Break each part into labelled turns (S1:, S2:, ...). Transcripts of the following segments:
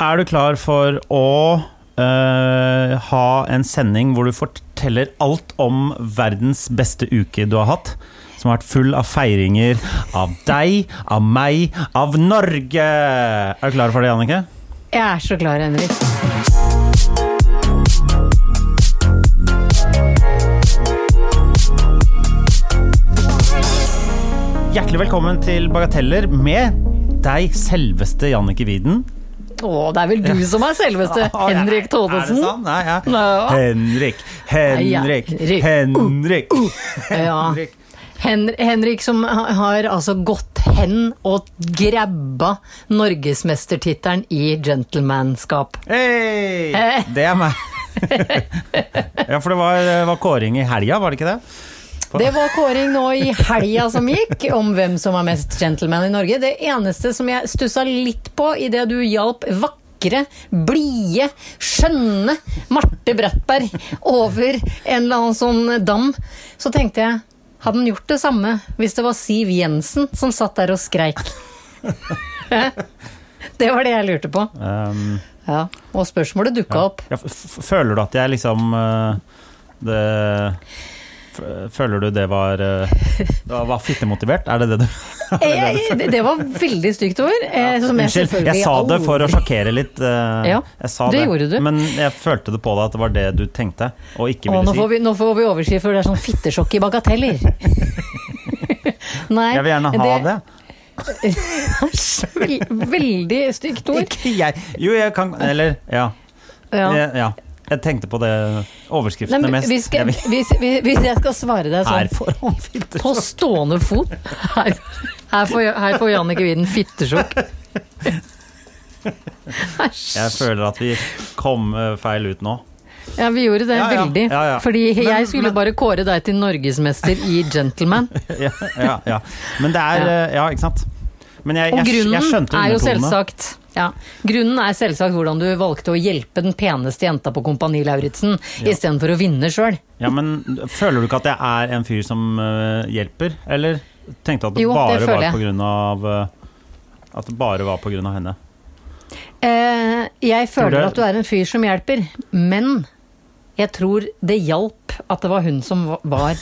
S1: Er du klar for å eh, ha en sending hvor du forteller alt om verdens beste uke du har hatt? Som har vært full av feiringer av deg, av meg, av Norge! Er du klar for det, Annike?
S2: Jeg er så klar, Henrik.
S1: Hjertelig velkommen til Bagateller med deg, selveste Jannicke Widen.
S2: Å, det er vel du som er selveste
S1: Å, ja.
S2: Henrik
S1: Er
S2: Thodesen?
S1: det sant? Nei, ja.
S2: Ja.
S1: Henrik, Henrik,
S2: Henrik. Uh.
S1: Henrik.
S2: Ja.
S1: Henrik.
S2: Hen Henrik som ha- har altså gått hen og grabba norgesmestertittelen i gentlemanskap.
S1: Hei!
S2: Eh.
S1: Det er meg. ja, for det var, var kåring i helga, var det ikke det?
S2: Det var kåring nå i helga som gikk, om hvem som er mest gentleman i Norge. Det eneste som jeg stussa litt på idet du hjalp vakre, blide, skjønne Marte Brattberg over en eller annen sånn dam, så tenkte jeg hadde han gjort det samme hvis det var Siv Jensen som satt der og skreik? det var det jeg lurte på.
S1: Um,
S2: Ja. Og spørsmålet dukka opp.
S1: ja, f- f- føler du at jeg liksom eh, det, f- Føler du det var eh, Det var- var fittemotivert? Er det det du
S2: Eh, eh, det var veldig stygt ord. eh, som jeg
S1: Unnskyld, jeg
S2: selvfølgelig
S1: sa det for å
S2: aldri-
S1: sjokkere litt. eh,
S2: Ja,
S1: jeg sa
S2: det gjorde du.
S1: Men jeg følte det på deg at det var det du tenkte og ikke
S2: Å,
S1: ville
S2: nå, får
S1: si.
S2: vi, nå får vi overskrift, for det er sånn fittesjokk i bagateller. Nei,
S1: Jeg vil gjerne ha det.
S2: Vel- Veldig stygt ord.
S1: Ikke jeg. Jo, jeg kan Eller, ja.
S2: Ja.
S1: Jeg, ja. jeg tenkte på det
S2: Nei,
S1: overskriftene
S2: men
S1: mest.
S2: vi
S1: jeg
S2: skal,
S1: vil,
S2: hvis, hvis- hvis jeg skal svare deg
S1: her
S2: sånn
S1: får han filter.
S2: på stående fot Her, her får, her får Jannicke Widen fittesjokk.
S1: Jeg
S2: Æsj.
S1: føler at vi kom eh, feil ut nå.
S2: Ja, vi gjorde det
S1: Ja, ja.
S2: veldig.
S1: Ja, ja.
S2: Fordi
S1: Men-
S2: jeg skulle
S1: men-
S2: bare kåre deg til norgesmester i Gentleman.
S1: ja, ja, ja. Men det er eh, Ja, ikke sant. Men jeg,
S2: Og
S1: jeg, jeg
S2: grunnen
S1: skjønte
S2: er jo
S1: undertonene.
S2: selvsagt ja. Grunnen er selvsagt hvordan du valgte å hjelpe den peneste jenta på Kompani Lauritzen istedenfor å vinne sjøl.
S1: Ja, men føler du ikke at jeg er en fyr som eh, hjelper? Eller tenkte at det
S2: Jo,
S1: bare
S2: det føler
S1: var
S2: jeg.
S1: på grunn av eh, At det bare var på grunn av henne?
S2: Eh, jeg
S1: Tror
S2: føler
S1: du-
S2: at du er en fyr som hjelper, men jeg tror det hjalp at det var hun som va- var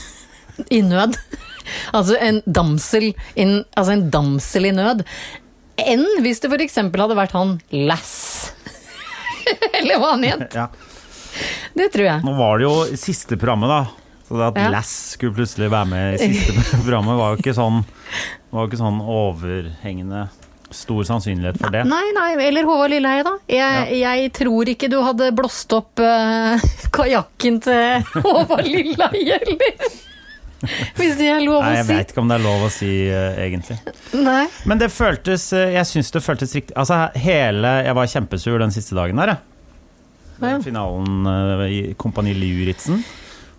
S2: i nød. altså en damsel, in, altså en damsel i nød. Enn hvis det f.eks. hadde vært han Lass. Eller hva han het.
S1: Ja.
S2: Det tror jeg.
S1: Nå var det jo i siste programmet, da. Så det at
S2: Ja.
S1: Lass skulle plutselig være med i siste programmet, var jo ikke sånn, var jo ikke sånn overhengende stor sannsynlighet for det.
S2: Nei, nei, eller Håvard Lilleheie, da. Jeg, jeg tror ikke du hadde blåst opp eh, kajakken til Håvard Lilleheie, eller? Hvis det er lov
S1: Nei, jeg
S2: å si.
S1: veit ikke om det er lov å si, eh, egentlig.
S2: Nei.
S1: Men det føltes eh, Jeg syns det føltes riktig. Altså, hele Jeg var kjempesur den siste dagen der, jeg. Den Finalen eh, i Kompani Luritzen.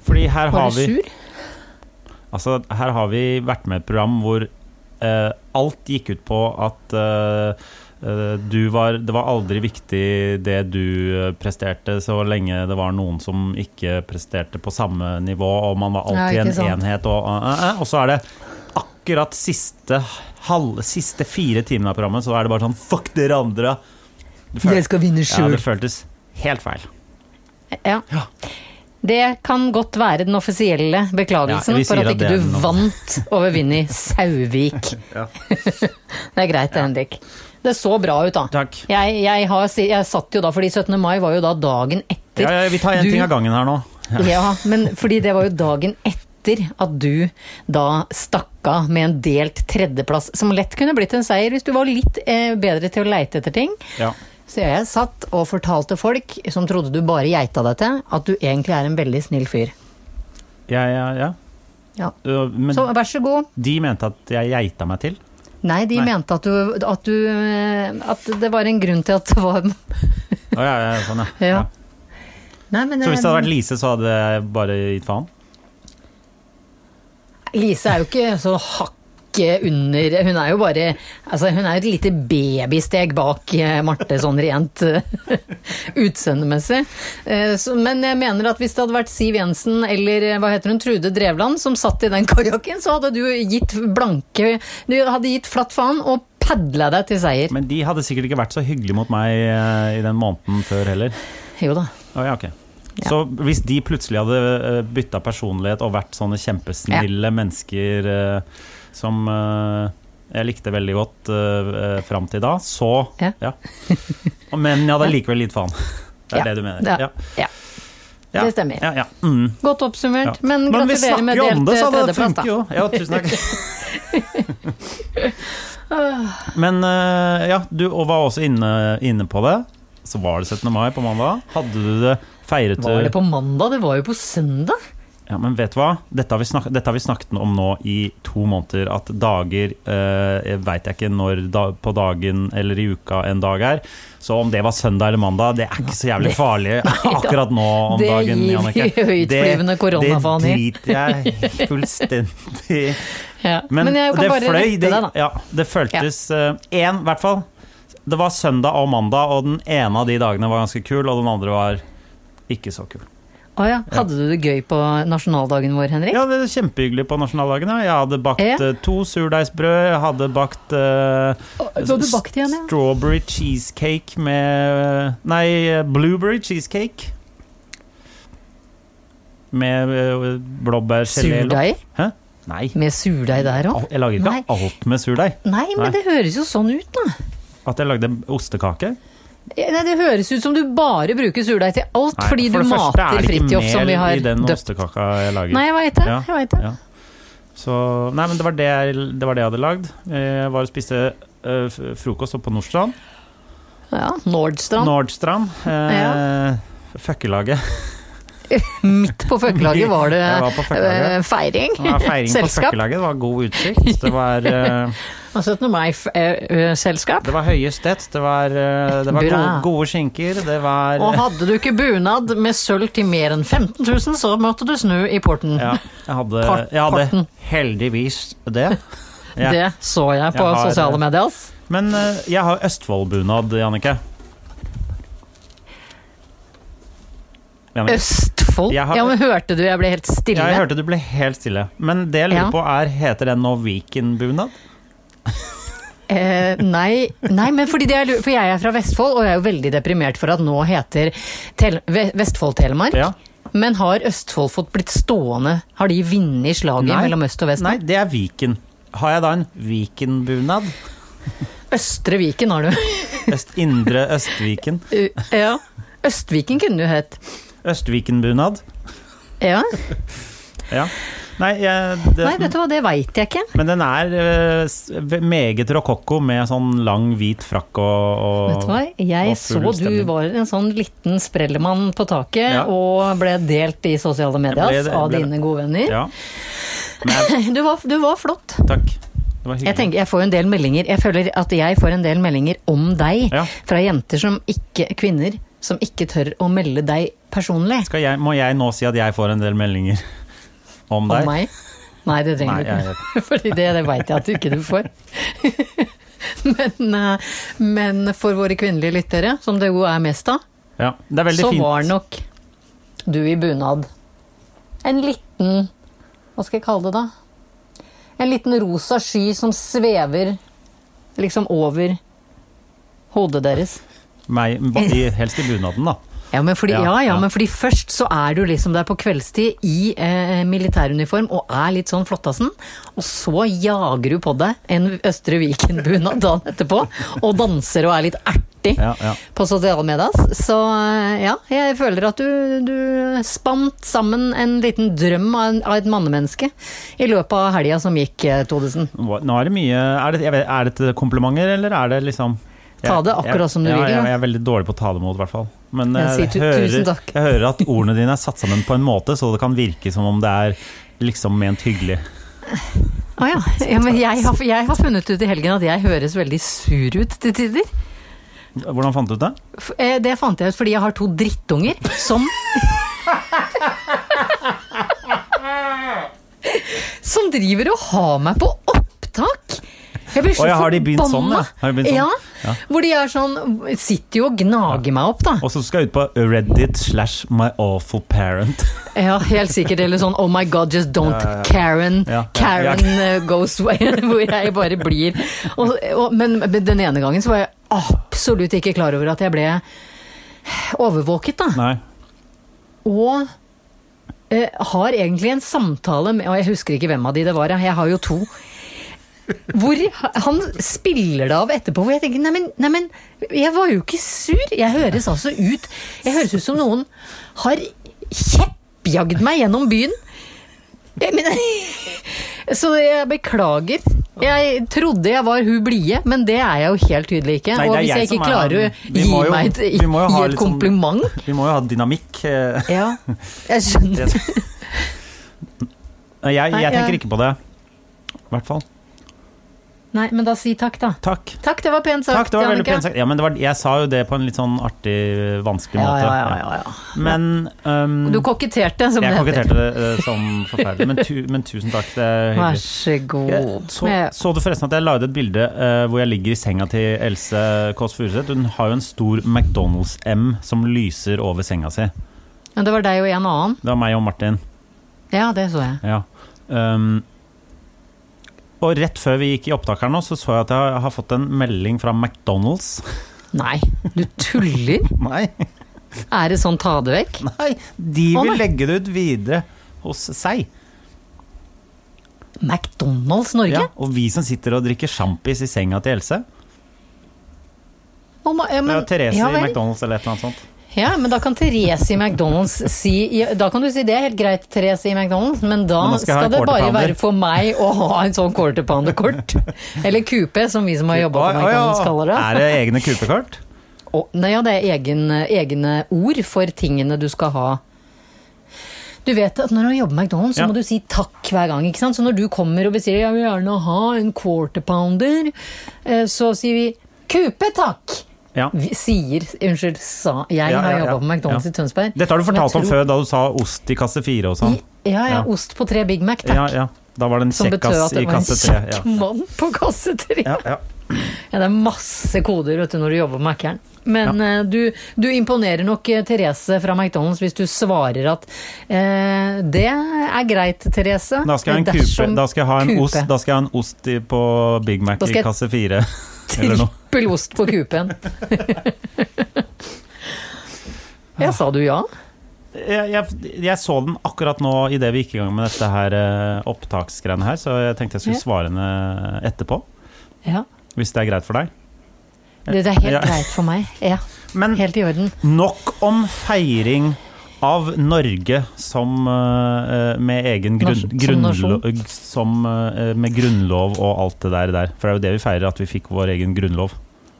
S1: Fordi her har
S2: Var du
S1: vi
S2: sur?
S1: Altså, her har vi vært med i et program hvor eh, alt gikk ut på at eh, eh, du var Det var aldri viktig det du eh, presterte, så lenge det var noen som ikke presterte på samme nivå, og man var alltid
S2: Ja, ikke
S1: en
S2: sant.
S1: enhet, og eh, eh, Og så er det akkurat siste, halv, siste fire timene av programmet, så er det bare sånn Fuck dere andre! Det føltes,
S2: skal vinne
S1: ja, det føltes helt feil.
S2: Ja.
S1: Ja.
S2: Det kan godt være den offisielle beklagelsen
S1: Ja, vi
S2: for
S1: sier
S2: at
S1: at det
S2: ikke
S1: er
S2: du
S1: den nå.
S2: vant over Vinni Sauvik.
S1: Ja.
S2: det er greit, det, Henrik. Det så bra ut, da.
S1: Takk.
S2: Jeg, jeg, har, si- jeg satt jo da, fordi 17. mai var jo da dagen etter.
S1: Ja, ja, vi tar én
S2: Du-
S1: ting av gangen her nå.
S2: Ja, men fordi det var jo dagen etter at du da stakk av med en delt tredjeplass, som lett kunne blitt en seier hvis du var litt eh, bedre til å leite etter ting.
S1: Ja.
S2: Så jeg satt og fortalte folk som trodde du bare geita deg til, at du egentlig er en veldig snill fyr.
S1: Ja, ja, ja.
S2: Ja.
S1: Øh, Men
S2: Så vær så god.
S1: de mente at jeg geita meg til.
S2: Nei, de
S1: Nei.
S2: mente at du, at du eh, At det var en grunn til at det var
S1: Å, ja, ja, sånn, ja.
S2: Ja.
S1: Ja.
S2: Nei, men
S1: Så hvis det hadde
S2: eh,
S1: vært Lise, så hadde jeg bare gitt faen?
S2: Lise er jo ikke så hakket under Hun er jo bare altså, Hun er jo et lite babysteg bak eh, Marte, sånn rent eh, utseendemessig. Eh, så- Men jeg mener at hvis det hadde vært Siv Jensen eller eh, hva heter hun, Trude Drevland som satt i den kajakken, så hadde du gitt blanke Du hadde gitt flatt faen og padla deg til seier.
S1: Men de hadde sikkert ikke vært så hyggelige mot meg eh, i den måneden før heller.
S2: Jo da.
S1: Å, ja, ok. Så hvis de plutselig hadde eh, bytta personlighet og vært sånne kjempesnille mennesker eh, som eh, jeg likte veldig godt eh, eh, fram til da, så
S2: Ja.
S1: Og- Men jeg hadde likevel gitt faen. Det er
S2: Ja.
S1: det du mener.
S2: Det,
S1: Ja.
S2: ja.
S1: Ja.
S2: det stemmer.
S1: Ja, ja. Mm,
S2: Godt
S1: ja.
S2: oppsummert, men
S1: Men vi
S2: gratulerer
S1: snakker
S2: med
S1: jo om
S2: delt
S1: det, så
S2: eh,
S1: det
S2: tredjeplass, da.
S1: funker jo. Ja, tusen takk. Men eh, ja, du og var også inne, inne på det. Så var det 17. mai på mandag. Hadde du det feiret
S2: Var
S1: du
S2: det på mandag? Det var jo på søndag.
S1: Ja, men vet du hva? Dette har, vi snak dette har vi snakket om nå i to måneder, at dager eh, Veit jeg ikke når da på dagen eller i uka en dag er. Så om det var søndag eller mandag, det er ikke så jævlig farlig
S2: da.
S1: akkurat nå om
S2: Det
S1: dagen.
S2: gir vi
S1: Jannicke.
S2: høytflyvende koronafaen i.
S1: Det driter jeg fullstendig i.
S2: Ja.
S1: Men,
S2: jeg kan
S1: det
S2: bare
S1: fløy,
S2: rette
S1: det,
S2: deg, da.
S1: ja, det føltes Én, i hvert fall. Det var søndag og mandag, og den ene av de dagene var ganske kul, og den andre var ikke så kul.
S2: Å ja. Hadde du det gøy på nasjonaldagen vår, Henrik?
S1: Ja, det er kjempehyggelig på nasjonaldagen. ja. Jeg hadde bakt
S2: Ja.
S1: eh, to surdeigsbrød. Jeg hadde bakt eh,
S2: Du hadde bakt igjen, ja.
S1: strawberry cheesecake med eh, Nei, blueberry cheesecake. Med eh, blåbærgelé
S2: Surdeig?
S1: Nei.
S2: Med surdeig der òg?
S1: Al- Jeg lager ikke
S2: Nei.
S1: alt med surdeig.
S2: Nei, men
S1: Nei.
S2: det høres jo sånn ut, da. Eh,
S1: At jeg lagde ostekake.
S2: Nei, Det høres ut som du bare bruker surdeig til alt,
S1: Nei,
S2: fordi
S1: for
S2: du
S1: det første er
S2: mater
S1: det ikke
S2: Fridtjof som
S1: mel
S2: vi har
S1: i den
S2: døpt.
S1: ostekaka jeg lager.
S2: Nei, jeg veit det.
S1: Ja,
S2: Jeg vet det.
S1: ja. Så, nei, men det var det, jeg, det var det jeg hadde lagd. Jeg var og spiste eh, f- frokost oppe på Nordstrand.
S2: Ja, Nordstrand.
S1: Nordstrand. Eh, Føkkelaget.
S2: Midt på føkkelaget var det
S1: Jeg var på føkkelaget.
S2: eh, feiring.
S1: Det var feiring på
S2: Selskap.
S1: Føkkelaget. Det var god utsikt. Det var, eh,
S2: Og 17. eh, mai-selskap.
S1: det var høye stett. Det var, eh, det var
S2: Bra.
S1: gode, gode skinker. Det var
S2: Og hadde du ikke bunad med sølv til mer enn 15 000, så måtte du snu i porten.
S1: ja, jeg, hadde,
S2: Part-
S1: jeg hadde
S2: parten.
S1: heldigvis det. Ja.
S2: Det så jeg på
S1: Jeg har-
S2: sosiale medier. ass.
S1: Men eh, jeg har Østfoldbunad, Jannicke. Jannicke.
S2: Østfold?
S1: Jeg har-
S2: Ja, men hørte du jeg ble helt stille?
S1: Ja, jeg hørte du ble helt stille. Men det jeg lurer
S2: Ja.
S1: på er, heter den nå Viken-bunad?
S2: Eh, nei, nei, men fordi det er, lu- for jeg er fra Vestfold, og jeg er jo veldig deprimert for at nå heter Tel Ve- Vestfold-Telemark.
S1: Ja.
S2: Men har Østfold fått blitt stående? Har de vunnet slaget
S1: Nei.
S2: mellom øst og vest?
S1: Nei, det er Viken. Har jeg da en Viken-bunad?
S2: Østre Viken har du.
S1: Øst, indre Østviken.
S2: U- ja. Østviken kunne du hett.
S1: Østviken-bunad.
S2: Ja.
S1: Ja. Nei, jeg, det,
S2: Nei, vet du hva, det veit jeg ikke.
S1: men den er eh, s- meget rokokko med sånn lang, hvit frakk og, og
S2: Vet du hva, jeg
S1: og
S2: så
S1: full
S2: du
S1: stemning.
S2: var en sånn liten sprellemann på taket,
S1: Ja.
S2: og ble delt i sosiale medier
S1: Jeg ble det, jeg
S2: av
S1: ble
S2: dine gode venner.
S1: Ja. Men,
S2: Du, var, du var flott.
S1: takk. Det var hyggelig.
S2: Jeg, tenker, jeg får jo en del meldinger Jeg føler at jeg får en del meldinger om deg
S1: Ja.
S2: fra jenter som ikke Kvinner som ikke tør å melde deg personlig.
S1: Skal jeg, må jeg nå si at jeg får en del meldinger om
S2: Om
S1: deg?
S2: meg. Nei,
S1: Nei,
S2: det trenger
S1: jeg
S2: du
S1: vet.
S2: ikke. Fordi det, det veit jeg at du ikke du får. men, eh, men for våre kvinnelige lyttere, som det jo er mest av,
S1: Ja, det er veldig
S2: så
S1: fint.
S2: var nok du i bunad. En liten Hva skal jeg kalle det, da? En liten rosa sky som svever liksom over hodet deres.
S1: Meg, ba- i- helst i bunaden, da.
S2: Ja, men fordi,
S1: Ja,
S2: ja, ja,
S1: ja.
S2: men fordi først så er du liksom der på kveldstid i eh, militæruniform og er litt sånn flottassen, og så jager du på deg en Østre Viken-bunad dagen etterpå, og danser og er litt ertig
S1: Ja, ja.
S2: på sosiale medier. Så eh, ja, jeg føler at du, du spant sammen en liten drøm av, en, av et mannemenneske i løpet av helga som gikk, eh, Todesen.
S1: Hva- Nå er det mye Er, det, jeg vet, er dette komplimenter, eller er det liksom
S2: Ta det akkurat
S1: jeg,
S2: som du
S1: ja,
S2: vil,
S1: Ja,
S2: da.
S1: jeg er veldig dårlig på å ta det imot, i hvert fall. Men
S2: Ja, si
S1: jeg,
S2: tu-
S1: hører,
S2: tusen takk.
S1: jeg hører at ordene dine er satt sammen på en måte, så det kan virke som om det er liksom ment hyggelig.
S2: Å ja. ja men jeg har, jeg har funnet ut i helgen at jeg høres veldig sur ut til tider.
S1: Hvordan fant du ut det?
S2: F- eh, Det fant jeg ut fordi jeg har to drittunger som Som driver og har meg på opptak. Jeg blir så
S1: Å, ja, har de begynt sånn, ja?
S2: forbanna.
S1: Har de begynt sånn?
S2: Ja,
S1: Ja.
S2: Hvor de er sånn Sitter jo og gnager meg opp, da.
S1: Og så skal jeg ut på Reddit slash My Awful Parent.
S2: Ja, helt sikkert. Eller sånn Oh my God, just don't
S1: Ja, ja, ja.
S2: Karen.
S1: Ja, ja,
S2: Karen eh, goes away. Hvor jeg bare blir og, og, men, men den ene gangen så var jeg absolutt ikke klar over at jeg ble overvåket, da.
S1: Nei.
S2: Og eh, har egentlig en samtale med Og jeg husker ikke hvem av de det var, jeg, jeg har jo to. Hvor han spiller det av etterpå, hvor jeg tenker Neimen, nei, men, jeg var jo ikke sur! Jeg høres altså ut Jeg høres ut som noen har kjeppjagd meg gjennom byen! Jeg mener, så jeg beklager. Jeg trodde jeg var hun blide, men det er jeg jo helt tydelig ikke.
S1: Nei,
S2: og
S1: det er
S2: hvis
S1: jeg
S2: jeg,
S1: som
S2: ikke
S1: er-
S2: klarer
S1: Vi
S2: å gi
S1: må jo-
S2: meg et,
S1: vi må jo ha
S2: gi et
S1: litt sånn-
S2: kompliment
S1: Vi må jo ha dynamikk. eh.
S2: Ja, jeg skjønner.
S1: Nei, Jeg,
S2: Nei,
S1: jeg
S2: ja.
S1: tenker ikke på det. I hvert fall.
S2: Nei, men da si takk, da.
S1: Takk.
S2: Takk, det var pent sagt.
S1: Takk, det var veldig
S2: Jannicke.
S1: pent sagt. Ja, men det var, jeg sa jo det på en litt sånn artig, vanskelig
S2: Ja,
S1: måte.
S2: ja, ja, ja, ja.
S1: Men um,
S2: Mm. Du koketterte, som det
S1: Jeg
S2: heter.
S1: koketterte det eh, som forferdelig, men, tu, men tusen takk. Det er
S2: Vær
S1: hyggelig.
S2: så
S1: Jeg,
S2: god.
S1: så,
S2: Med-
S1: så du forresten at jeg la ut et bilde eh, hvor jeg ligger i senga til Else Kåss Furuseth? Hun har jo en stor McDonald's-M som lyser over senga si.
S2: Men det var deg og en annen.
S1: Det var meg og Martin.
S2: Ja, det så jeg.
S1: Ja. Um, og rett før vi gikk i opptak her nå, så så jeg at jeg har fått en melding fra McDonald's.
S2: Nei, du tuller?
S1: Nei,
S2: Er det sånn ta det vekk?
S1: nei. De
S2: Å,
S1: vil
S2: nei.
S1: legge det ut videre hos seg.
S2: McDonald's Norge?
S1: Ja, og vi som sitter og drikker sjampis i senga til Else.
S2: Å, ma-
S1: Det
S2: ja,
S1: er
S2: men,
S1: jo Therese
S2: ja,
S1: i
S2: vel.
S1: McDonald's eller et eller annet sånt.
S2: ja, men da kan Therese i McDonald's si ja, Da kan du si det er helt greit, Therese i McDonald's, men da
S1: Men da skal jeg ha
S2: skal
S1: en
S2: det bare
S1: quarter
S2: være for meg å ha en sånn quarter pounder-kort. Eller kupé, som vi som har jobba
S1: Oi,
S2: på
S1: oi, ja.
S2: McDonald's kaller det.
S1: Er det egne kupekort?
S2: Å, nei, ja, det er egen, egne ord for tingene du skal ha. Du vet at når du jobber med McDonald's, så
S1: Ja.
S2: må du si takk hver gang. ikke sant? Så når du kommer og bestiller jeg vil gjerne ha en quarter pounder, eh, så sier vi kupe, takk!
S1: Ja.
S2: Vi sier Unnskyld, sa jeg
S1: Ja,
S2: har
S1: ja, ja.
S2: jobba på McDonald's
S1: Ja.
S2: i Tønsberg.
S1: Dette har du
S2: Men
S1: fortalt
S2: jeg
S1: om
S2: tror-
S1: før, da du sa ost i kasse fire og sånn.
S2: I- Ja, ja,
S1: Ja.
S2: ost på tre Big Mac,
S1: Ja,
S2: takk.
S1: ja. Da var det en
S2: Som betød
S1: kjekkas
S2: at det
S1: i
S2: var en
S1: kasse tre.
S2: kjekk
S1: Ja.
S2: mann på kasse tre.
S1: Ja, ja.
S2: Ja, det er masse koder vet du, når du jobber på Mac-eren. Men eh, du, du imponerer nok eh, Therese fra McDonald's hvis du svarer at eh, det er greit, Therese.
S1: Da skal jeg, ha en kupe,
S2: Dersom
S1: da skal jeg ha en
S2: kupe.
S1: ost, da skal jeg ha en ost i- på Big Mac
S2: Da skal
S1: i
S2: jeg-
S1: kasse fire. Eller noe.
S2: Trippel ost på kupen. ja, sa du ja?
S1: Jeg, jeg, jeg så den akkurat nå idet vi gikk i gang med dette her eh, opptaksgreiene her, så jeg tenkte jeg skulle
S2: Ja.
S1: svare henne etterpå.
S2: Ja.
S1: Hvis det er greit for deg.
S2: Det, det er helt
S1: Ja.
S2: greit for meg. Ja,
S1: Men
S2: helt i orden.
S1: nok om feiring av Norge som eh, med egen grunn,
S2: Nasjon- som
S1: grunnlov
S2: nasjon.
S1: Som eh, med grunnlov og alt det der der. For det er jo det vi feirer, at vi fikk vår egen grunnlov.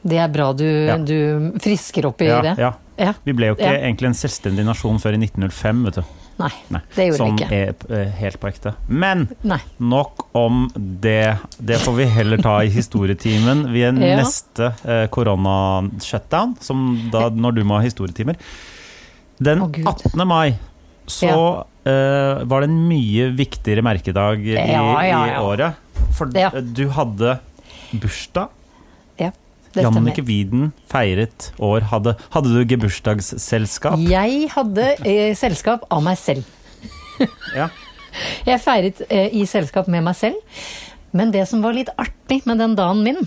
S2: Det er bra du,
S1: Ja.
S2: du frisker opp i
S1: Ja,
S2: det.
S1: ja.
S2: Ja.
S1: Vi ble jo ikke
S2: Ja.
S1: egentlig en selvstendig nasjon før i 1905, vet du.
S2: Nei,
S1: Nei,
S2: det gjorde
S1: som
S2: vi ikke.
S1: er eh, helt på ekte. Men
S2: Nei.
S1: nok om det. Det får vi heller ta i historietimen ved
S2: Ja.
S1: neste eh, korona-shutdown, som da, når du må ha historietimer. Den
S2: Å, Gud.
S1: 18. mai så eh, var det en mye viktigere merkedag i,
S2: Ja, ja,
S1: i
S2: ja.
S1: året. For
S2: Ja.
S1: eh, du hadde bursdag.
S2: Det stemmer.
S1: Jannicke Widen feiret år. Hadde, hadde du gebursdagsselskap?
S2: Jeg hadde eh, selskap av meg selv.
S1: Ja.
S2: Jeg feiret eh, i selskap med meg selv. Men det som var litt artig med den dagen min,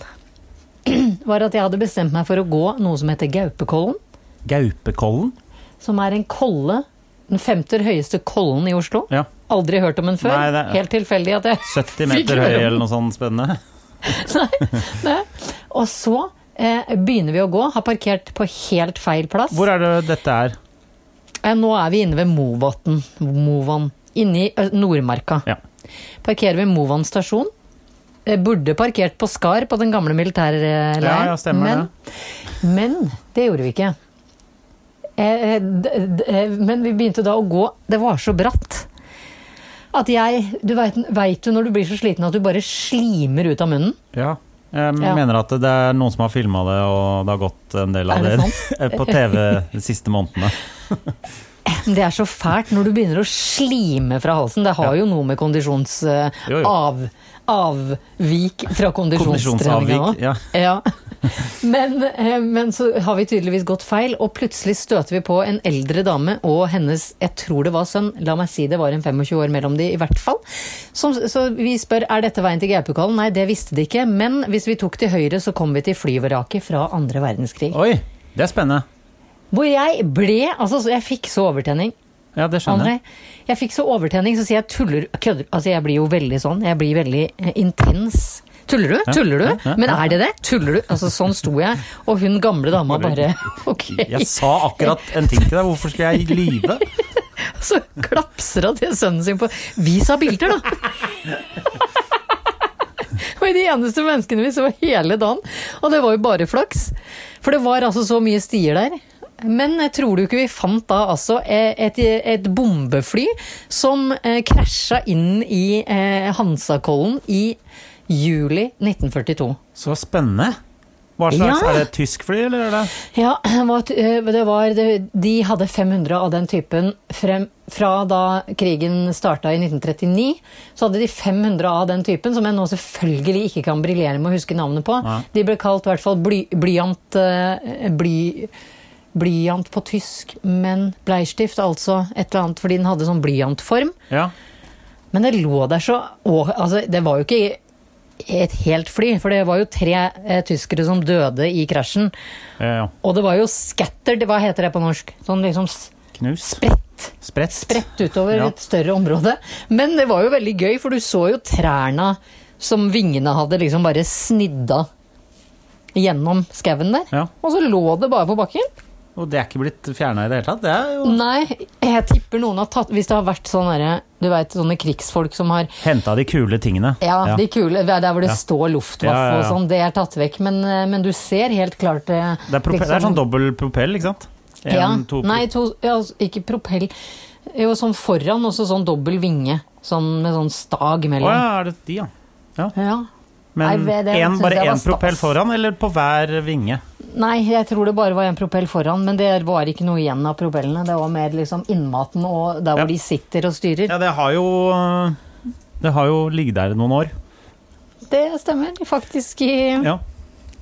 S2: var at jeg hadde bestemt meg for å gå noe som heter Gaupekollen.
S1: Gaupekollen?
S2: Som er en kolle, den femte høyeste kollen i Oslo.
S1: Ja.
S2: Aldri hørt om den før.
S1: Nei, det er-
S2: Helt tilfeldig at jeg
S1: 70
S2: Fikk
S1: meter
S2: høre
S1: høy
S2: om.
S1: eller noe sånt spennende?
S2: Og så eh, begynner vi å gå, har parkert på helt feil plass.
S1: Hvor er det dette er?
S2: Eh, Nå er vi inne ved Movatn. Movan. Inne i Ø- Nordmarka.
S1: Ja.
S2: Parkerer ved Movan stasjon. Eh, Burde parkert på Skar på den gamle militærleiren.
S1: Ja, ja, stemmer
S2: men, men det gjorde vi ikke. Eh, eh, d- d- eh, Men vi begynte da å gå Det var så bratt. At jeg, du vet, vet du når du blir så sliten at du bare slimer ut av munnen?
S1: Ja. Jeg
S2: Ja.
S1: mener at det er noen som har filma det, og det har gått en del av
S2: Er
S1: det,
S2: det
S1: på TV de siste månedene.
S2: Det er så fælt når du begynner å slime fra halsen. Det har jo noe med kondisjons... eh,
S1: Jo, jo.
S2: Av, avvik fra kondisjonstreninga
S1: Kondisjonsavvik. Ja.
S2: Ja. Men, eh, men så har vi tydeligvis gått feil, og plutselig støter vi på en eldre dame og hennes jeg tror det var sønn, la meg si det var en 25 år mellom de i hvert fall. Som, så vi spør er dette veien til Gaupokalen. Nei, det visste de ikke, men hvis vi tok til høyre, så kom vi til flyvraket fra andre verdenskrig.
S1: Oi, det er spennende.
S2: Hvor jeg ble Altså, så jeg fikk så overtenning.
S1: Ja, det skjønner
S2: André,
S1: jeg.
S2: jeg fikk så overtenning, så sier jeg tuller Kødder Altså, jeg blir jo veldig sånn. Jeg blir veldig eh, intens. Tuller du? Tuller
S1: ja,
S2: du?
S1: ja,
S2: Men er det det? Tuller du? Altså, sånn sto jeg, og hun gamle dama bare Ok.
S1: Jeg sa akkurat en ting til deg, hvorfor skal jeg lyve?
S2: Så klapser hun til sønnen sin på Vis av bilder, da! Og de eneste menneskene vi så hele dagen. Og det var jo bare flaks. For det var altså så mye stier der. Men eh, tror du ikke vi fant da altså eh, et, et bombefly som eh, krasja inn i eh, Hansakollen i juli 1942?
S1: Så spennende. Hva slags,
S2: Ja.
S1: Er det et tysk fly, eller er det
S2: Ja, det var, det var, det, de hadde 500 av den typen frem, fra da krigen starta i 1939. Så hadde de 500 av den typen, som jeg nå selvfølgelig ikke kan briljere med å huske navnet på.
S1: Nei.
S2: De ble kalt i hvert fall bly, blyant, eh, bly, blyant på tysk, men bleistift, altså et eller annet, fordi den hadde sånn blyantform.
S1: Ja.
S2: Men det lå der så og, altså, Det var jo ikke et helt fly, for det var jo tre eh, tyskere som døde i krasjen.
S1: ja, ja.
S2: Og det var jo scattered, hva heter det på norsk? Sånn liksom spredt,
S1: Knus. Spredt.
S2: spredt utover
S1: Ja.
S2: et større område. Men det var jo veldig gøy, for du så jo trærne som vingene hadde liksom bare snidda gjennom skauen der.
S1: Ja.
S2: Og så lå det bare på bakken.
S1: Og det er ikke blitt fjerna i det hele tatt? Det er jo
S2: Nei, jeg tipper noen har tatt Hvis det har vært sånn derre, du veit, sånne krigsfolk som har
S1: Henta de kule tingene.
S2: Ja, de kule, det er der hvor det
S1: Ja.
S2: står luftvaff
S1: Ja, ja, ja.
S2: og sånn, det er tatt vekk. Men, eh, men du ser helt klart eh, det
S1: Det er, prope- det er sånn dobbel propell, ikke sant? En,
S2: Liksom. ja.
S1: to-
S2: Nei, to, ja, altså, ikke propell. Jo, sånn foran og så sånn dobbel vinge. Sånn med sånn stag
S1: Å
S2: mellom.
S1: ja, er det de, ja.
S2: ja.
S1: Men
S2: Nei, det
S1: en,
S2: synes
S1: bare
S2: jeg var
S1: én propell
S2: stas.
S1: foran, eller på hver vinge?
S2: Nei, jeg tror det bare var en propell foran, men det var ikke noe igjen av propellene. Det var mer liksom innmaten og der
S1: Ja.
S2: hvor de sitter og styrer.
S1: Ja, det har jo Det har jo ligget der i noen år.
S2: Det stemmer. Faktisk i
S1: Ja.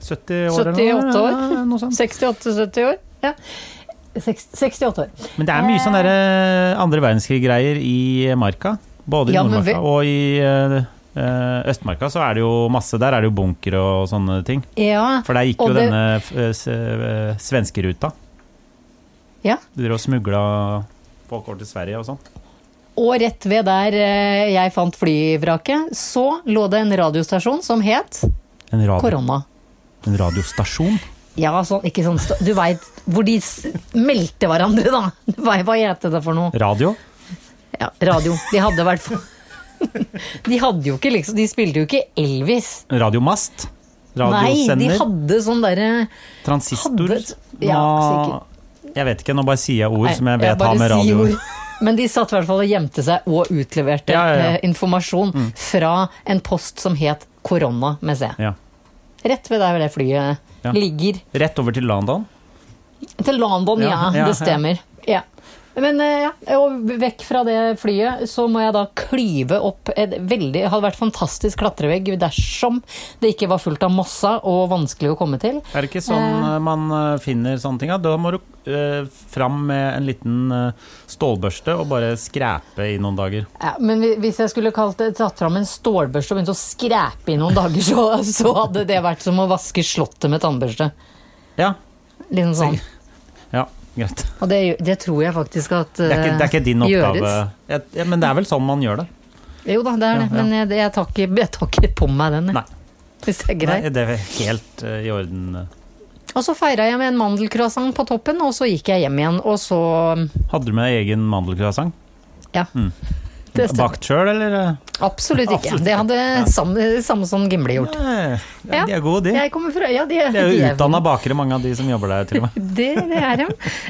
S1: 70 år
S2: 78
S1: eller
S2: år.
S1: noe, ja, noe sånt.
S2: 68-70 år. Ja. Seks- 68 år.
S1: Men det er mye sånne der, eh, andre verdenskrig-greier i Marka. Både i
S2: Ja, men
S1: Nordmarka og i eh, eh, Østmarka så er det jo masse. Der er det jo bunkere og sånne ting.
S2: Ja.
S1: For der gikk
S2: Og
S1: jo
S2: det-
S1: denne eh, s- eh, svenskeruta.
S2: ja.
S1: De drev og smugla folk over til Sverige og sånn.
S2: Og rett ved der eh, jeg fant flyvraket, så lå det en radiostasjon som het
S1: En, radio,
S2: Korona.
S1: en radiostasjon.
S2: Ja, sånn, ikke sånn sta- Du veit hvor de s- meldte hverandre, da. Du vet, hva heter det for noe?
S1: Radio.
S2: Ja, radio. De hadde i hvert fall De hadde jo ikke liksom De spilte jo ikke Elvis.
S1: Radiomast.
S2: Nei, de
S1: Radiosender.
S2: hadde sånn derre
S1: Transistor.
S2: Hadde- ja,
S1: Nå- Jeg vet ikke, nå bare sier jeg ord
S2: Nei,
S1: som jeg
S2: jeg
S1: vet
S2: bare
S1: har med
S2: sier
S1: radio
S2: ord. Men de satt i hvert fall og gjemte seg og utleverte
S1: Ja, ja, ja.
S2: eh, informasjon fra en post som het Korona med C.
S1: ja.
S2: Rett ved der hvor det flyet
S1: Ja.
S2: ligger.
S1: Rett over til London.
S2: Til London, ja.
S1: Ja, ja,
S2: det stemmer. Ja. Men eh, ja, og vekk fra det flyet, så må jeg da klyve opp et veldig Det hadde vært fantastisk klatrevegg dersom det ikke var fullt av mossa og vanskelig å komme til.
S1: Er det ikke sånn eh, man eh, finner sånne ting? Da? da må du eh, fram med en liten eh, stålbørste og bare skræpe i noen dager.
S2: Ja, men hvi- hvis jeg skulle kalt det, tatt fram en stålbørste og begynt å skræpe i noen dager, så, så hadde det vært som å vaske Slottet med tannbørste.
S1: Ja,
S2: Liksom sånn.
S1: ja greit.
S2: Og det, det tror jeg faktisk at
S1: Det er ikke, det er ikke din
S2: eh,
S1: oppgave.
S2: gjøres.
S1: Jeg, ja, men det er vel sånn man gjør det.
S2: Jo da, det er det,
S1: Ja, ja.
S2: men jeg, jeg, tar ikke, jeg tar ikke på meg den, jeg.
S1: Nei.
S2: hvis det er greit.
S1: Nei det er helt eh, i orden.
S2: Og så feira jeg med en mandelcroissant på toppen, og så gikk jeg hjem igjen, og så
S1: Hadde du med egen mandelcroissant?
S2: Ja.
S1: Mm.
S2: Det stemmer.
S1: Bakt sjøl, eller?
S2: Absolutt ikke.
S1: Absolutt
S2: Det hadde samme, samme som Gimle gjort.
S1: Nei,
S2: Ja.
S1: ja, de er gode, de.
S2: Jeg kommer fra Ja, de,
S1: De er
S2: de
S1: jo utdanna bakere, mange av de som jobber der. til og med.
S2: Det, det er de.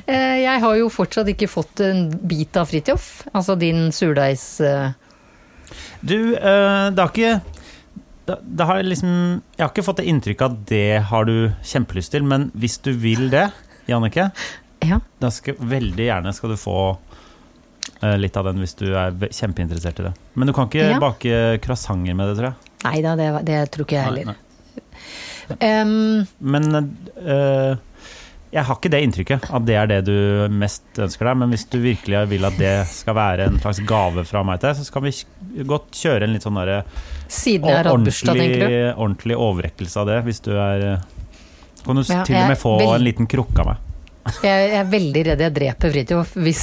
S2: Eh, Jeg har jo fortsatt ikke fått en bit av Fridtjof, altså din surdeigsmandelcroissant.
S1: Du, eh, det har ikke det, det har liksom, Jeg har ikke fått det inntrykket at det har du kjempelyst til, men hvis du vil det, Jannicke,
S2: Ja.
S1: da skal veldig gjerne skal du få eh, litt av den hvis du er ve- kjempeinteressert i det. Men du kan ikke
S2: Ja.
S1: bake croissanter med det, tror jeg.
S2: Nei da, det, var- det tror ikke jeg
S1: Nei,
S2: heller.
S1: nei.
S2: Ehm,
S1: Men eh, jeg har ikke det inntrykket at det er det du mest ønsker deg. Men hvis du virkelig vil at det skal være en slags gave fra meg til deg, så skal vi kj- godt kjøre en litt sånn derre
S2: siden jeg har hatt bursdag, tenker du?
S1: ordentlig, ordentlig overrekkelse av det, hvis du er eh, Kan du s-
S2: Ja,
S1: til og
S2: jeg
S1: med få
S2: er veld-
S1: en liten krukke av meg?
S2: Jeg, jeg er veldig redd jeg dreper Fridtjof hvis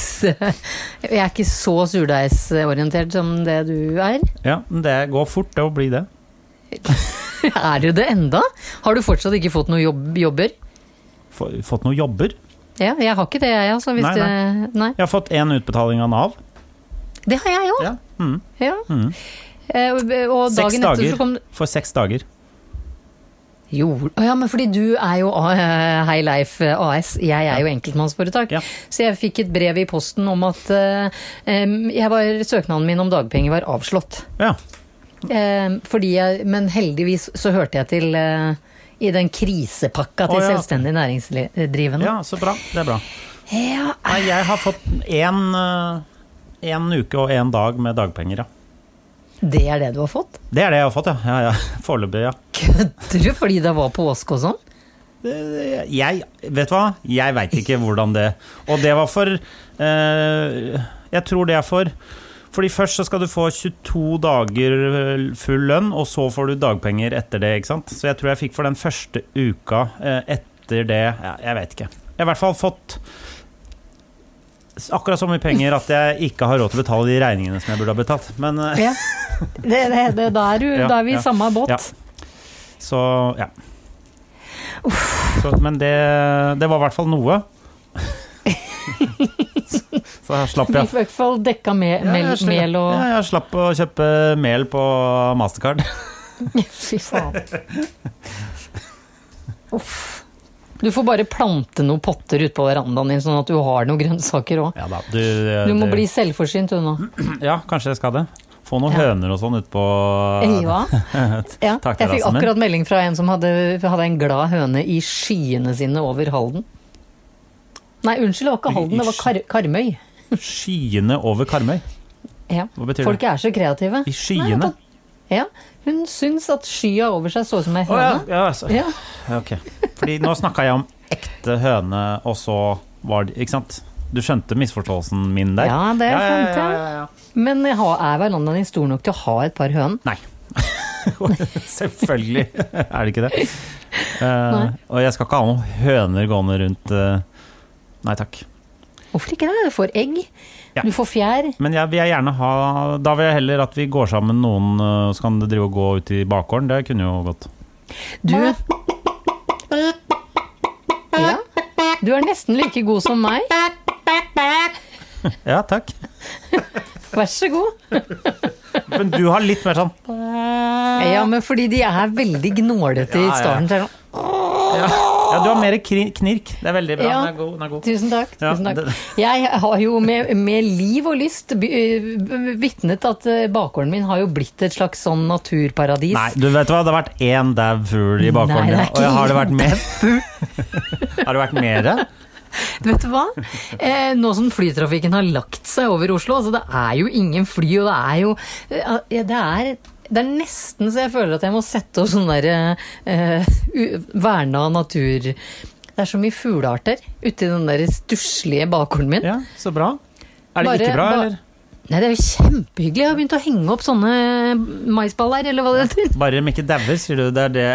S2: Jeg er ikke så surdeigsorientert som det du er.
S1: Ja, men det går fort, det å bli det.
S2: Er du det enda? Har du fortsatt ikke fått noen jobb, jobber?
S1: Få- Fått noen jobber.
S2: Ja, jeg har ikke det, jeg, altså. Hvis
S1: Nei,
S2: Det, nei.
S1: Jeg har fått én utbetaling av Nav.
S2: det har jeg òg.
S1: Ja. Mm,
S2: Ja.
S1: mm.
S2: Eh, Og og
S1: Seks
S2: dagen etter
S1: dager.
S2: så kom
S1: For seks dager.
S2: Jo, å ja, men fordi du er jo A- eh, Hei Leif eh, AS, jeg er jo enkeltmannsforetak.
S1: Ja.
S2: Så jeg fikk et brev i posten om at eh, em, jeg var, søknaden min om dagpenger var avslått.
S1: Ja.
S2: Eh, fordi jeg, men heldigvis så hørte jeg til eh, i den krisepakka til
S1: Å, ja.
S2: selvstendig næringsdrivende.
S1: ja, så bra. Det er bra.
S2: Ja.
S1: Nei, jeg har fått én en uke og én dag med dagpenger, ja.
S2: Det er det du har fått?
S1: Det er det jeg har fått, ja. ja, ja. Foreløpig, ja.
S2: Kødder du? Fordi det var påske og sånn?
S1: Det- Jeg Vet du hva? Jeg veit ikke hvordan det Og det var for eh, Jeg tror det er for Fordi først så skal du få 22 dager eh, full lønn, og så får du dagpenger etter det, ikke sant? Så jeg tror jeg fikk for den første uka eh, etter det ja, Jeg veit ikke. Jeg har i hvert fall fått s- akkurat så mye penger at jeg ikke har råd til å betale de regningene som jeg burde ha betalt. Men eh,
S2: Ja. Det, det, det, da, er du,
S1: Ja,
S2: da er vi i
S1: ja.
S2: samme båt.
S1: Ja. Så ja. Så, men det, det var i hvert fall noe. så, så her slapp
S2: Vi
S1: jeg.
S2: får i hvert fall dekka me- mel,
S1: jeg slapp,
S2: mel og
S1: ja, jeg slapp å kjøpe mel på Mastercard.
S2: Fy faen. Uff. Du får bare plante noen potter ute på verandaen din, sånn at du har noen grønnsaker òg.
S1: Ja da, du,
S2: Du må
S1: det-
S2: bli selvforsynt, du nå.
S1: Ja, kanskje jeg skal det. Få noen
S2: Ja.
S1: høner og sånn utpå
S2: Ja. ja.
S1: Takk,
S2: Jeg fikk
S1: Rasmus.
S2: akkurat melding fra en som hadde, hadde en glad høne i skyene sine over Halden. Nei, unnskyld, det var ikke Halden, det var Kar Karmøy.
S1: Skyene over Karmøy.
S2: Ja.
S1: Hva betyr
S2: Folk er så kreative.
S1: det? I skyene?
S2: Nei, Ja. Hun syns at skya over seg så ut som ei
S1: Å ja,
S2: høne.
S1: ja, altså.
S2: Ja.
S1: Ja, Ok. Fordi nå snakka jeg om ekte høne, og så var det Ikke sant? Du skjønte misforståelsen min der?
S2: Ja, det skjønte jeg.
S1: ja, ja.
S2: Men jeg har- er verandaen din stor nok til å ha et par høn?
S1: Nei. Selvfølgelig er det ikke det. Eh, og jeg skal ikke ha noen høner gående rundt eh, Nei takk.
S2: Hvorfor ikke det? Du får egg,
S1: Ja.
S2: du får fjær.
S1: Men jeg vil jeg gjerne ha Da vil jeg heller at vi går sammen noen, eh, så kan det drive og gå ut i bakgården. Det kunne jo gått.
S2: Du ja. Du er nesten like god som meg.
S1: Ja, takk.
S2: Vær så god.
S1: Men du har litt mer sånn
S2: Ja, men fordi de er veldig gnålete i
S1: Ja, ja.
S2: starten. så er det sånn,
S1: Ja, ja du har mer kri- knirk. Det er veldig bra.
S2: Ja.
S1: Den er god. Den er god.
S2: Tusen takk.
S1: Ja,
S2: Tusen takk.
S1: det-
S2: Jeg har jo med, med liv og lyst by- øh, vitnet at øh, bakgården min har jo blitt et slags sånn naturparadis.
S1: Nei, du vet hva, det har vært én dau fugl i bakgården
S2: Nei, det
S1: din.
S2: er
S1: Og
S2: ikke
S1: har det vært mer? har det vært mer?
S2: Vet du hva? Eh, nå som flytrafikken har lagt seg over Oslo, altså det er jo ingen fly, og det er jo eh, det er, det er nesten så jeg føler at jeg må sette opp sånn derre eh, u- verna natur... Det er så mye fuglearter uti den der stusslige bakgården min.
S1: Ja, så bra. Er det
S2: Bare-
S1: ikke bra,
S2: ba-
S1: eller?
S2: Nei, det er jo kjempehyggelig. Jeg har begynt å henge opp sånne maisballer, eller hva det heter.
S1: Bare de ikke dauer, sier du. Det er det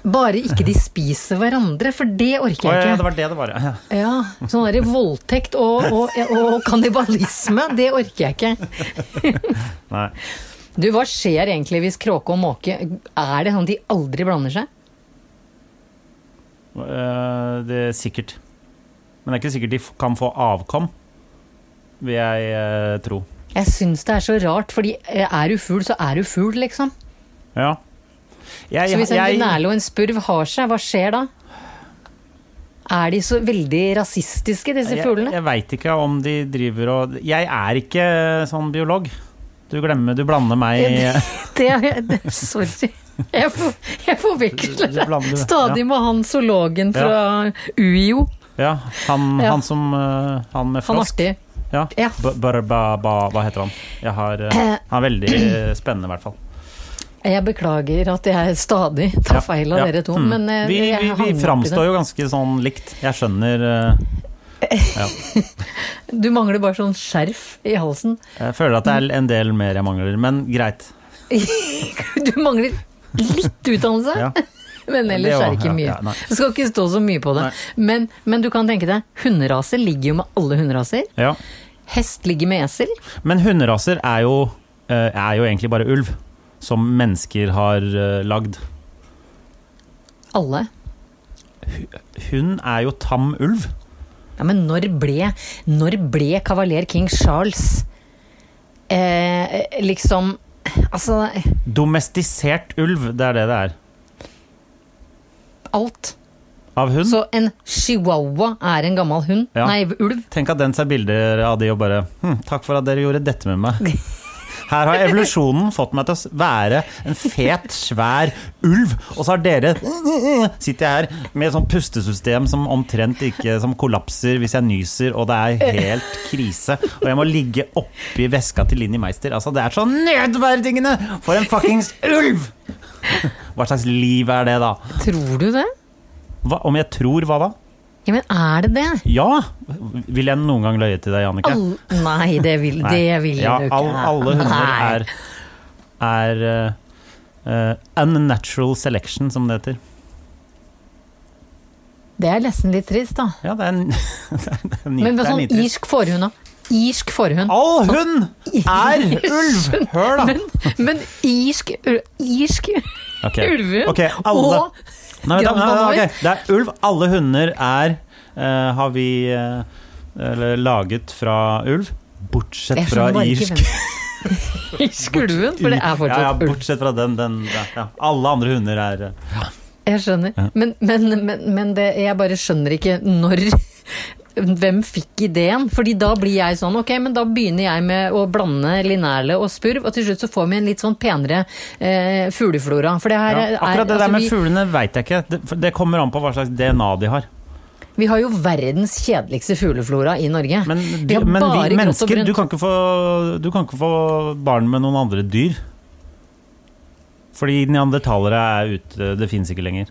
S2: Bare ikke de spiser hverandre, for det
S1: Å
S2: orker
S1: ja, ja,
S2: jeg
S1: det
S2: ikke.
S1: var det det var. Ja.
S2: Ja, Sånn derre voldtekt og, og, og kannibalisme, det orker jeg ikke.
S1: Nei.
S2: Du, hva skjer egentlig hvis kråke og måke Er det sånn at de aldri blander seg?
S1: Eh, Det er sikkert. Men det er ikke sikkert de f- kan få avkom, vil jeg eh, tro.
S2: Jeg syns det er så rart, fordi eh, er du fugl, så er du fugl, liksom.
S1: Ja. Jeg,
S2: Så hvis en
S1: jeg-
S2: gnæle og en spurv har seg, hva skjer da? Er de så veldig rasistiske, disse
S1: jeg,
S2: fuglene?
S1: jeg veit ikke om de driver og Jeg er ikke eh, sånn biolog. Du glemmer, du blander meg eh,
S2: Det, det, sorry. Jeg, for, jeg forveksler
S1: Du blander-
S2: deg stadig med han zoologen fra UiO.
S1: Ja, han,
S2: Ja.
S1: han som eh, Han med
S2: Han
S1: frosk.
S2: artig.
S1: Ja.
S2: Ja.
S1: Ba, ba, ba, ba, hva heter han? Jeg har, eh,
S2: Eh.
S1: han er veldig eh, spennende, i hvert fall.
S2: Jeg beklager at jeg stadig tar
S1: Ja,
S2: feil av
S1: ja.
S2: dere to,
S1: Mm.
S2: men eh,
S1: vi,
S2: jeg
S1: vi,
S2: hang opp i
S1: vi
S2: det.
S1: framstår jo ganske sånn likt. Jeg skjønner eh,
S2: Du mangler bare sånn skjerf i halsen.
S1: Jeg føler at det er en del mer jeg mangler, men greit.
S2: Du mangler litt utdannelse,
S1: Ja.
S2: men
S1: Det
S2: ellers
S1: var-
S2: er det ikke
S1: ja,
S2: mye.
S1: ja, nei.
S2: Det skal ikke stå så mye på det.
S1: Nei.
S2: Men, men du kan tenke deg, hunderaser ligger jo med alle hunderaser.
S1: Ja.
S2: Hest ligger med esel.
S1: Men hunderaser er jo, eh, er jo egentlig bare ulv, som mennesker har eh, lagd.
S2: Alle.
S1: Hund er jo tam ulv.
S2: Ja, men når ble, når ble kavaler king Charles eh, liksom Altså,
S1: Domestisert ulv, det er det det er.
S2: alt.
S1: Av hund.
S2: Så en chihuahua er en gammel hund.
S1: Mm. Ja.
S2: Nei, ulv.
S1: Tenk at den ser bilder av de og bare hm, Takk for at dere gjorde dette med meg. Her har evolusjonen fått meg til å s- være en fet, svær ulv, og så har dere Sitter jeg her med et sånt pustesystem som omtrent ikke Som kollapser hvis jeg nyser, og det er helt krise. Og jeg må ligge oppi veska til Linni Meister. Altså, det er så nedverdigende for en fuckings ulv! Hva slags liv er det, da?
S2: Tror du det?
S1: Hva, om jeg tror hva da?
S2: Ja, men er det det?
S1: Ja! Vil jeg noen gang løye til deg, Jannicke?
S2: All, nei, det vil,
S1: Nei.
S2: det vil
S1: ja,
S2: du ikke.
S1: all, alle hunder
S2: Nei.
S1: er, er eh, eh, unnatural selection, som det heter.
S2: Det er nesten litt trist, da.
S1: Ja, det er, en, det er, en,
S2: Men
S1: det er
S2: sånn
S1: nitrist.
S2: irsk forhund, da. Irsk forhund.
S1: All hund er ulv! Hør, da!
S2: Men irsk ul- Irsk
S1: Ok,
S2: ulvehund
S1: Ok, alle.
S2: og
S1: Nei, vent da, nei, nei,
S2: Grandanois.
S1: ok. Det er ulv. Alle hunder er eh, Har vi eh, eller, laget fra ulv. Bortsett
S2: Jeg
S1: fra
S2: skjønner sånn bare ikke
S1: irsk.
S2: hvem- Irsk ulvehund, for det er
S1: ja, ja,
S2: fortsatt ulv.
S1: bortsett fra den, den ja, ja. Alle andre hunder er eh,
S2: Jeg skjønner.
S1: Ja.
S2: Men, men, men, men det, jeg bare skjønner ikke når hvem fikk ideen? Fordi da blir jeg sånn, ok, men da begynner jeg med å blande linerle og spurv, og til slutt så får vi en litt sånn penere eh, fugleflora. For det her
S1: ja.
S2: er
S1: Akkurat det
S2: altså,
S1: der med
S2: vi-
S1: fuglene veit jeg ikke. Det, for det kommer an på hva slags DNA de har.
S2: Vi har jo verdens kjedeligste fugleflora i Norge.
S1: Men,
S2: vi
S1: du,
S2: har
S1: men
S2: bare
S1: vi
S2: grått og
S1: mennesker, du
S2: brunt.
S1: kan, ikke få, du kan ikke få barn med noen andre dyr. Fordi neandertalere er ute, det fins ikke lenger.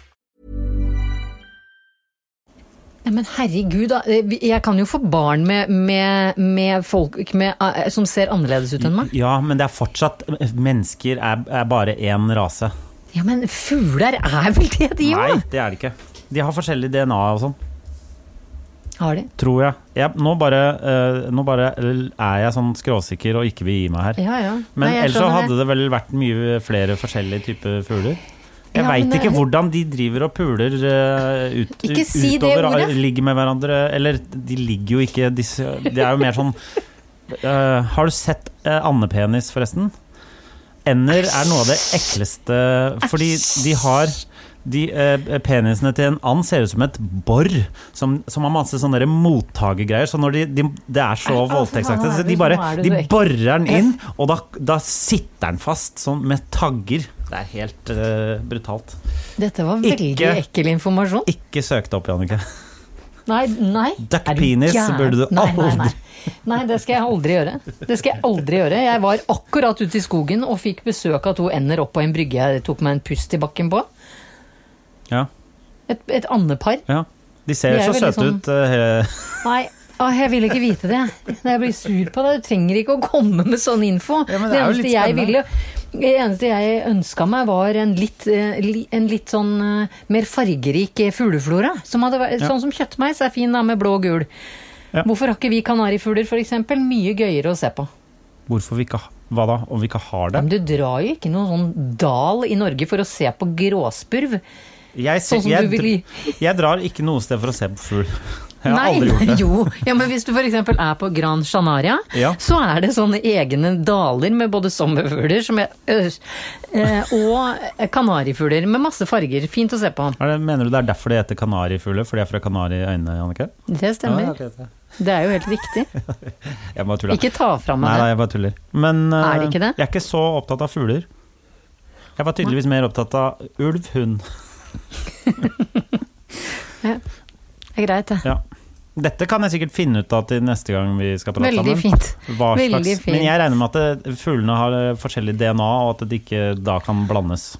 S2: Nei, men herregud, da. Eh, Jeg kan jo få barn med, med, med folk med, eh, som ser annerledes ut enn meg.
S1: Ja, men det er fortsatt Mennesker er, er bare én rase.
S2: Ja, men fugler er vel det de
S1: Nei,
S2: gjør?
S1: det er det ikke. De har forskjellig DNA og sånn,
S2: Har de?
S1: tror jeg. jeg nå, bare, eh, nå bare er jeg sånn skråsikker og ikke vil gi meg her.
S2: Ja, ja.
S1: Men
S2: Nei, jeg
S1: ellers så
S2: skjønner
S1: hadde det vel vært mye flere forskjellige typer fugler. Jeg vet
S2: Ja, men
S1: veit
S2: det-
S1: ikke hvordan de driver og puler eh, ut,
S2: Ikke si det
S1: utover eh,
S2: ordet.
S1: Ligger med hverandre Eller de ligger jo ikke disse, Det er jo mer sånn eh, Har du sett eh, andepenis, forresten? Ender er noe av det ekleste Fordi de har de, eh, Penisene til en and ser ut som et bor Som, som har masse sånne der mottagergreier Så når de, de, det er så
S2: Nei, altså,
S1: voldtektsaktig
S2: nå er
S1: Så
S2: du-
S1: de bare
S2: nå er du
S1: de
S2: så ekkel.
S1: borer den inn Og da, da sitter den fast sånn, Med tagger Det er helt eh, brutalt
S2: Dette var
S1: Ikke-
S2: veldig ekkel informasjon.
S1: Ikke søk det opp, Jannicke
S2: Nei, nei.
S1: Duck
S2: Er du
S1: penis
S2: gæren?
S1: burde du
S2: Nei, nei,
S1: aldri-
S2: Nei, nei, det skal jeg aldri gjøre. Det skal jeg aldri gjøre. Jeg var akkurat ute i skogen og fikk besøk av to ender opp på en brygge jeg tok meg en pust i bakken på.
S1: Ja,
S2: Et, et andepar.
S1: ja de ser
S2: De er
S1: så
S2: veldig
S1: søte
S2: sånn-
S1: ut eh,
S2: Nei, Åh, jeg vil ikke vite det. Når jeg blir sur på deg. Du trenger ikke å komme med sånn info.
S3: Ja, men
S2: det,
S3: det er jo
S2: eneste
S3: litt
S2: jeg
S3: spennende.
S2: ville, det eneste jeg ønska meg, var en litt, eh, li- en litt sånn eh, mer fargerik eh, fugleflora. Som hadde, vært- Sånn som kjøttmeis er fin da, med blå og gul.
S4: Ja.
S2: Hvorfor har ikke vi kanarifugler, f.eks.? Mye gøyere å se på.
S4: Hvorfor vi ikke ha- Hva da? Om vi ikke har det?
S2: Men du drar jo ikke noen sånn dal i Norge for å se på gråspurv.
S4: Jeg, ser-
S2: Sånn som
S4: jeg,
S2: du vil gi.
S4: dr- jeg drar ikke noe sted for å se på fugl. Jeg har
S2: Nei,
S4: aldri gjort det.
S2: Jo, ja, men hvis du f.eks. er på Gran Canaria,
S4: Ja.
S2: så er det sånne egne daler med både sommerfugler som er, øh, eh, og kanarifugler med masse farger. Fint å se på.
S4: Er det, mener du det er derfor det heter kanarifugler? Fordi jeg er fra Kanariøyene, Jannicke?
S2: Det
S4: Ja,
S2: stemmer.
S4: Ah, ok, så-
S2: Det er jo helt riktig.
S4: Jeg bare tuller.
S2: Ikke ta fra
S4: nei,
S2: meg
S4: nei,
S2: det.
S4: jeg bare tuller. Men eh,
S2: Er det ikke det?
S4: jeg er ikke så opptatt av fugler. Jeg var tydeligvis mer opptatt av ulv, hund.
S2: Det er greit, det.
S4: Ja. Dette kan jeg sikkert finne ut av til neste gang vi skal prate
S2: Veldig
S4: sammen.
S2: fint.
S4: Hva
S2: Veldig
S4: slags,
S2: fint.
S4: men jeg regner med at det- fuglene har eh, forskjellig DNA, og at det ikke da kan blandes.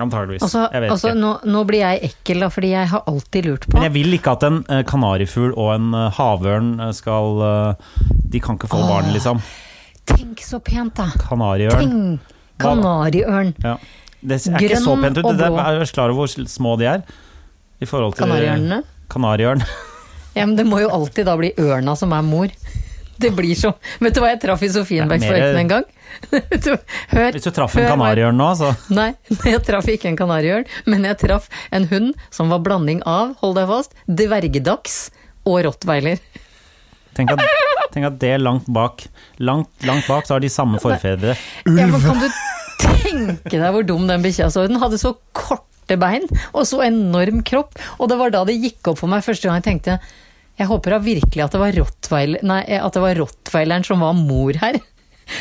S4: Antageligvis.
S2: Altså,
S4: jeg vet
S2: altså
S4: ikke.
S2: nå, nå blir jeg ekkel, da, fordi jeg har alltid lurt på
S4: Men jeg vil ikke at en eh, kanarifugl og en eh, havørn eh, skal eh, De kan ikke få barn,
S2: Ah.
S4: liksom.
S2: Tenk så pent, da!
S4: Kanariørn.
S2: Tenk! Kanariørn.
S4: Ja. Det er ikke så
S2: Grønn
S4: pent ut.
S2: og
S4: Det
S2: blå.
S4: er, er du klar over hvor sl- små de er? I forhold til
S2: Kanariørnene.
S4: Kanariørn.
S2: Ja, men det må jo alltid da bli ørna som er mor. Det blir så Vet du hva jeg traff i
S4: Det
S2: Sofienbergsparken
S4: er
S2: en gang? Vet du- Hør.
S4: Hvis du traff
S2: hør
S4: en
S2: hva jeg-
S4: kanariørn nå, så
S2: Nei, jeg traff ikke en kanariørn, men jeg traff en hund som var blanding av, hold deg fast, dvergdags og rottweiler.
S4: tenk at, tenk at det er langt bak. Langt, langt bak så har de samme forfedre.
S2: Ja, men kan du tenke deg hvor dum den bikkja så ut? Den hadde så korte bein og så enorm kropp. Og det var da det gikk opp for meg første gang jeg tenkte jeg håper da virkelig at det var rottweiler, nei, at det var rottweileren som var mor her.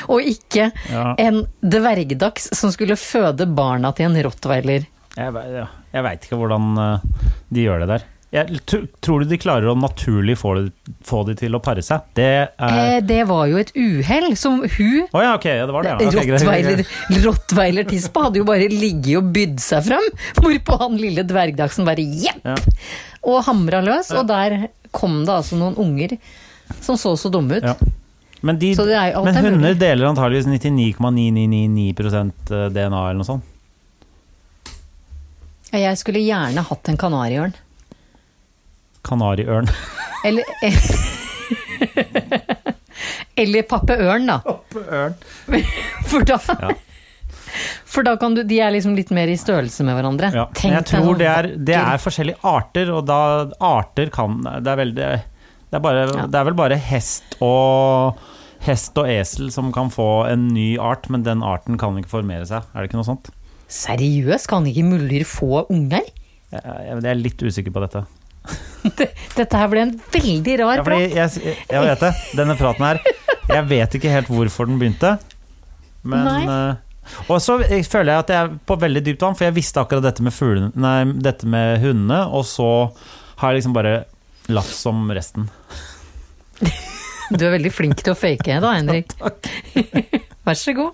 S2: Og ikke
S4: Ja.
S2: en dvergdags som skulle føde barna til en rottweiler.
S4: Jeg, ve- ja, jeg veit ikke hvordan eh, de gjør det der. Jeg, tr- tror du de klarer å naturlig få, det, få de til å pare seg? Det er
S2: Eh, det var jo et uhell som hun
S4: Å ja, ok, ja, det var det. Ja. Ok, greit, greit,
S2: Rottweiler-
S4: greit.
S2: Rottweiler-tispa hadde jo bare ligget og bydd seg fram, hvorpå han lille dvergdagsen bare jepp!
S4: Ja.
S2: Og hamra løs, og der kom det altså noen unger som så så dumme ut.
S4: Ja. Men, de,
S2: Så det er jo- alt
S4: men
S2: er mulig.
S4: hunder deler antageligvis 99,999 DNA eller noe sånt.
S2: Ja, Jeg skulle gjerne hatt en kanariørn.
S4: Kanariørn.
S2: Eller Eller pappeørn, da. For da For da kan du De er liksom litt mer i størrelse med hverandre.
S4: Ja.
S2: Tenk
S4: Men jeg
S2: deg noe
S4: tror det er, det
S2: vakker-
S4: er forskjellige arter, og da arter kan Det er, veldig, det er, bare,
S2: Ja.
S4: det er vel bare hest og Hest og esel som kan få en ny art, men den arten kan ikke formere seg. Er det ikke noe sånt?
S2: Seriøst, kan ikke muldyr få unger?
S4: Jeg, jeg er litt usikker på dette.
S2: Dette her ble en veldig rar
S4: Ja, fordi jeg, jeg, jeg vet det. Denne praten her Jeg vet ikke helt hvorfor den begynte. Men
S2: Nei.
S4: eh, Og så føler jeg at jeg er på veldig dypt vann, for jeg visste akkurat dette med, fuglene- nei, dette med hundene, og så har jeg liksom bare latt som resten.
S2: prat. Du er veldig flink til å fake da, Henrik. Vær så god.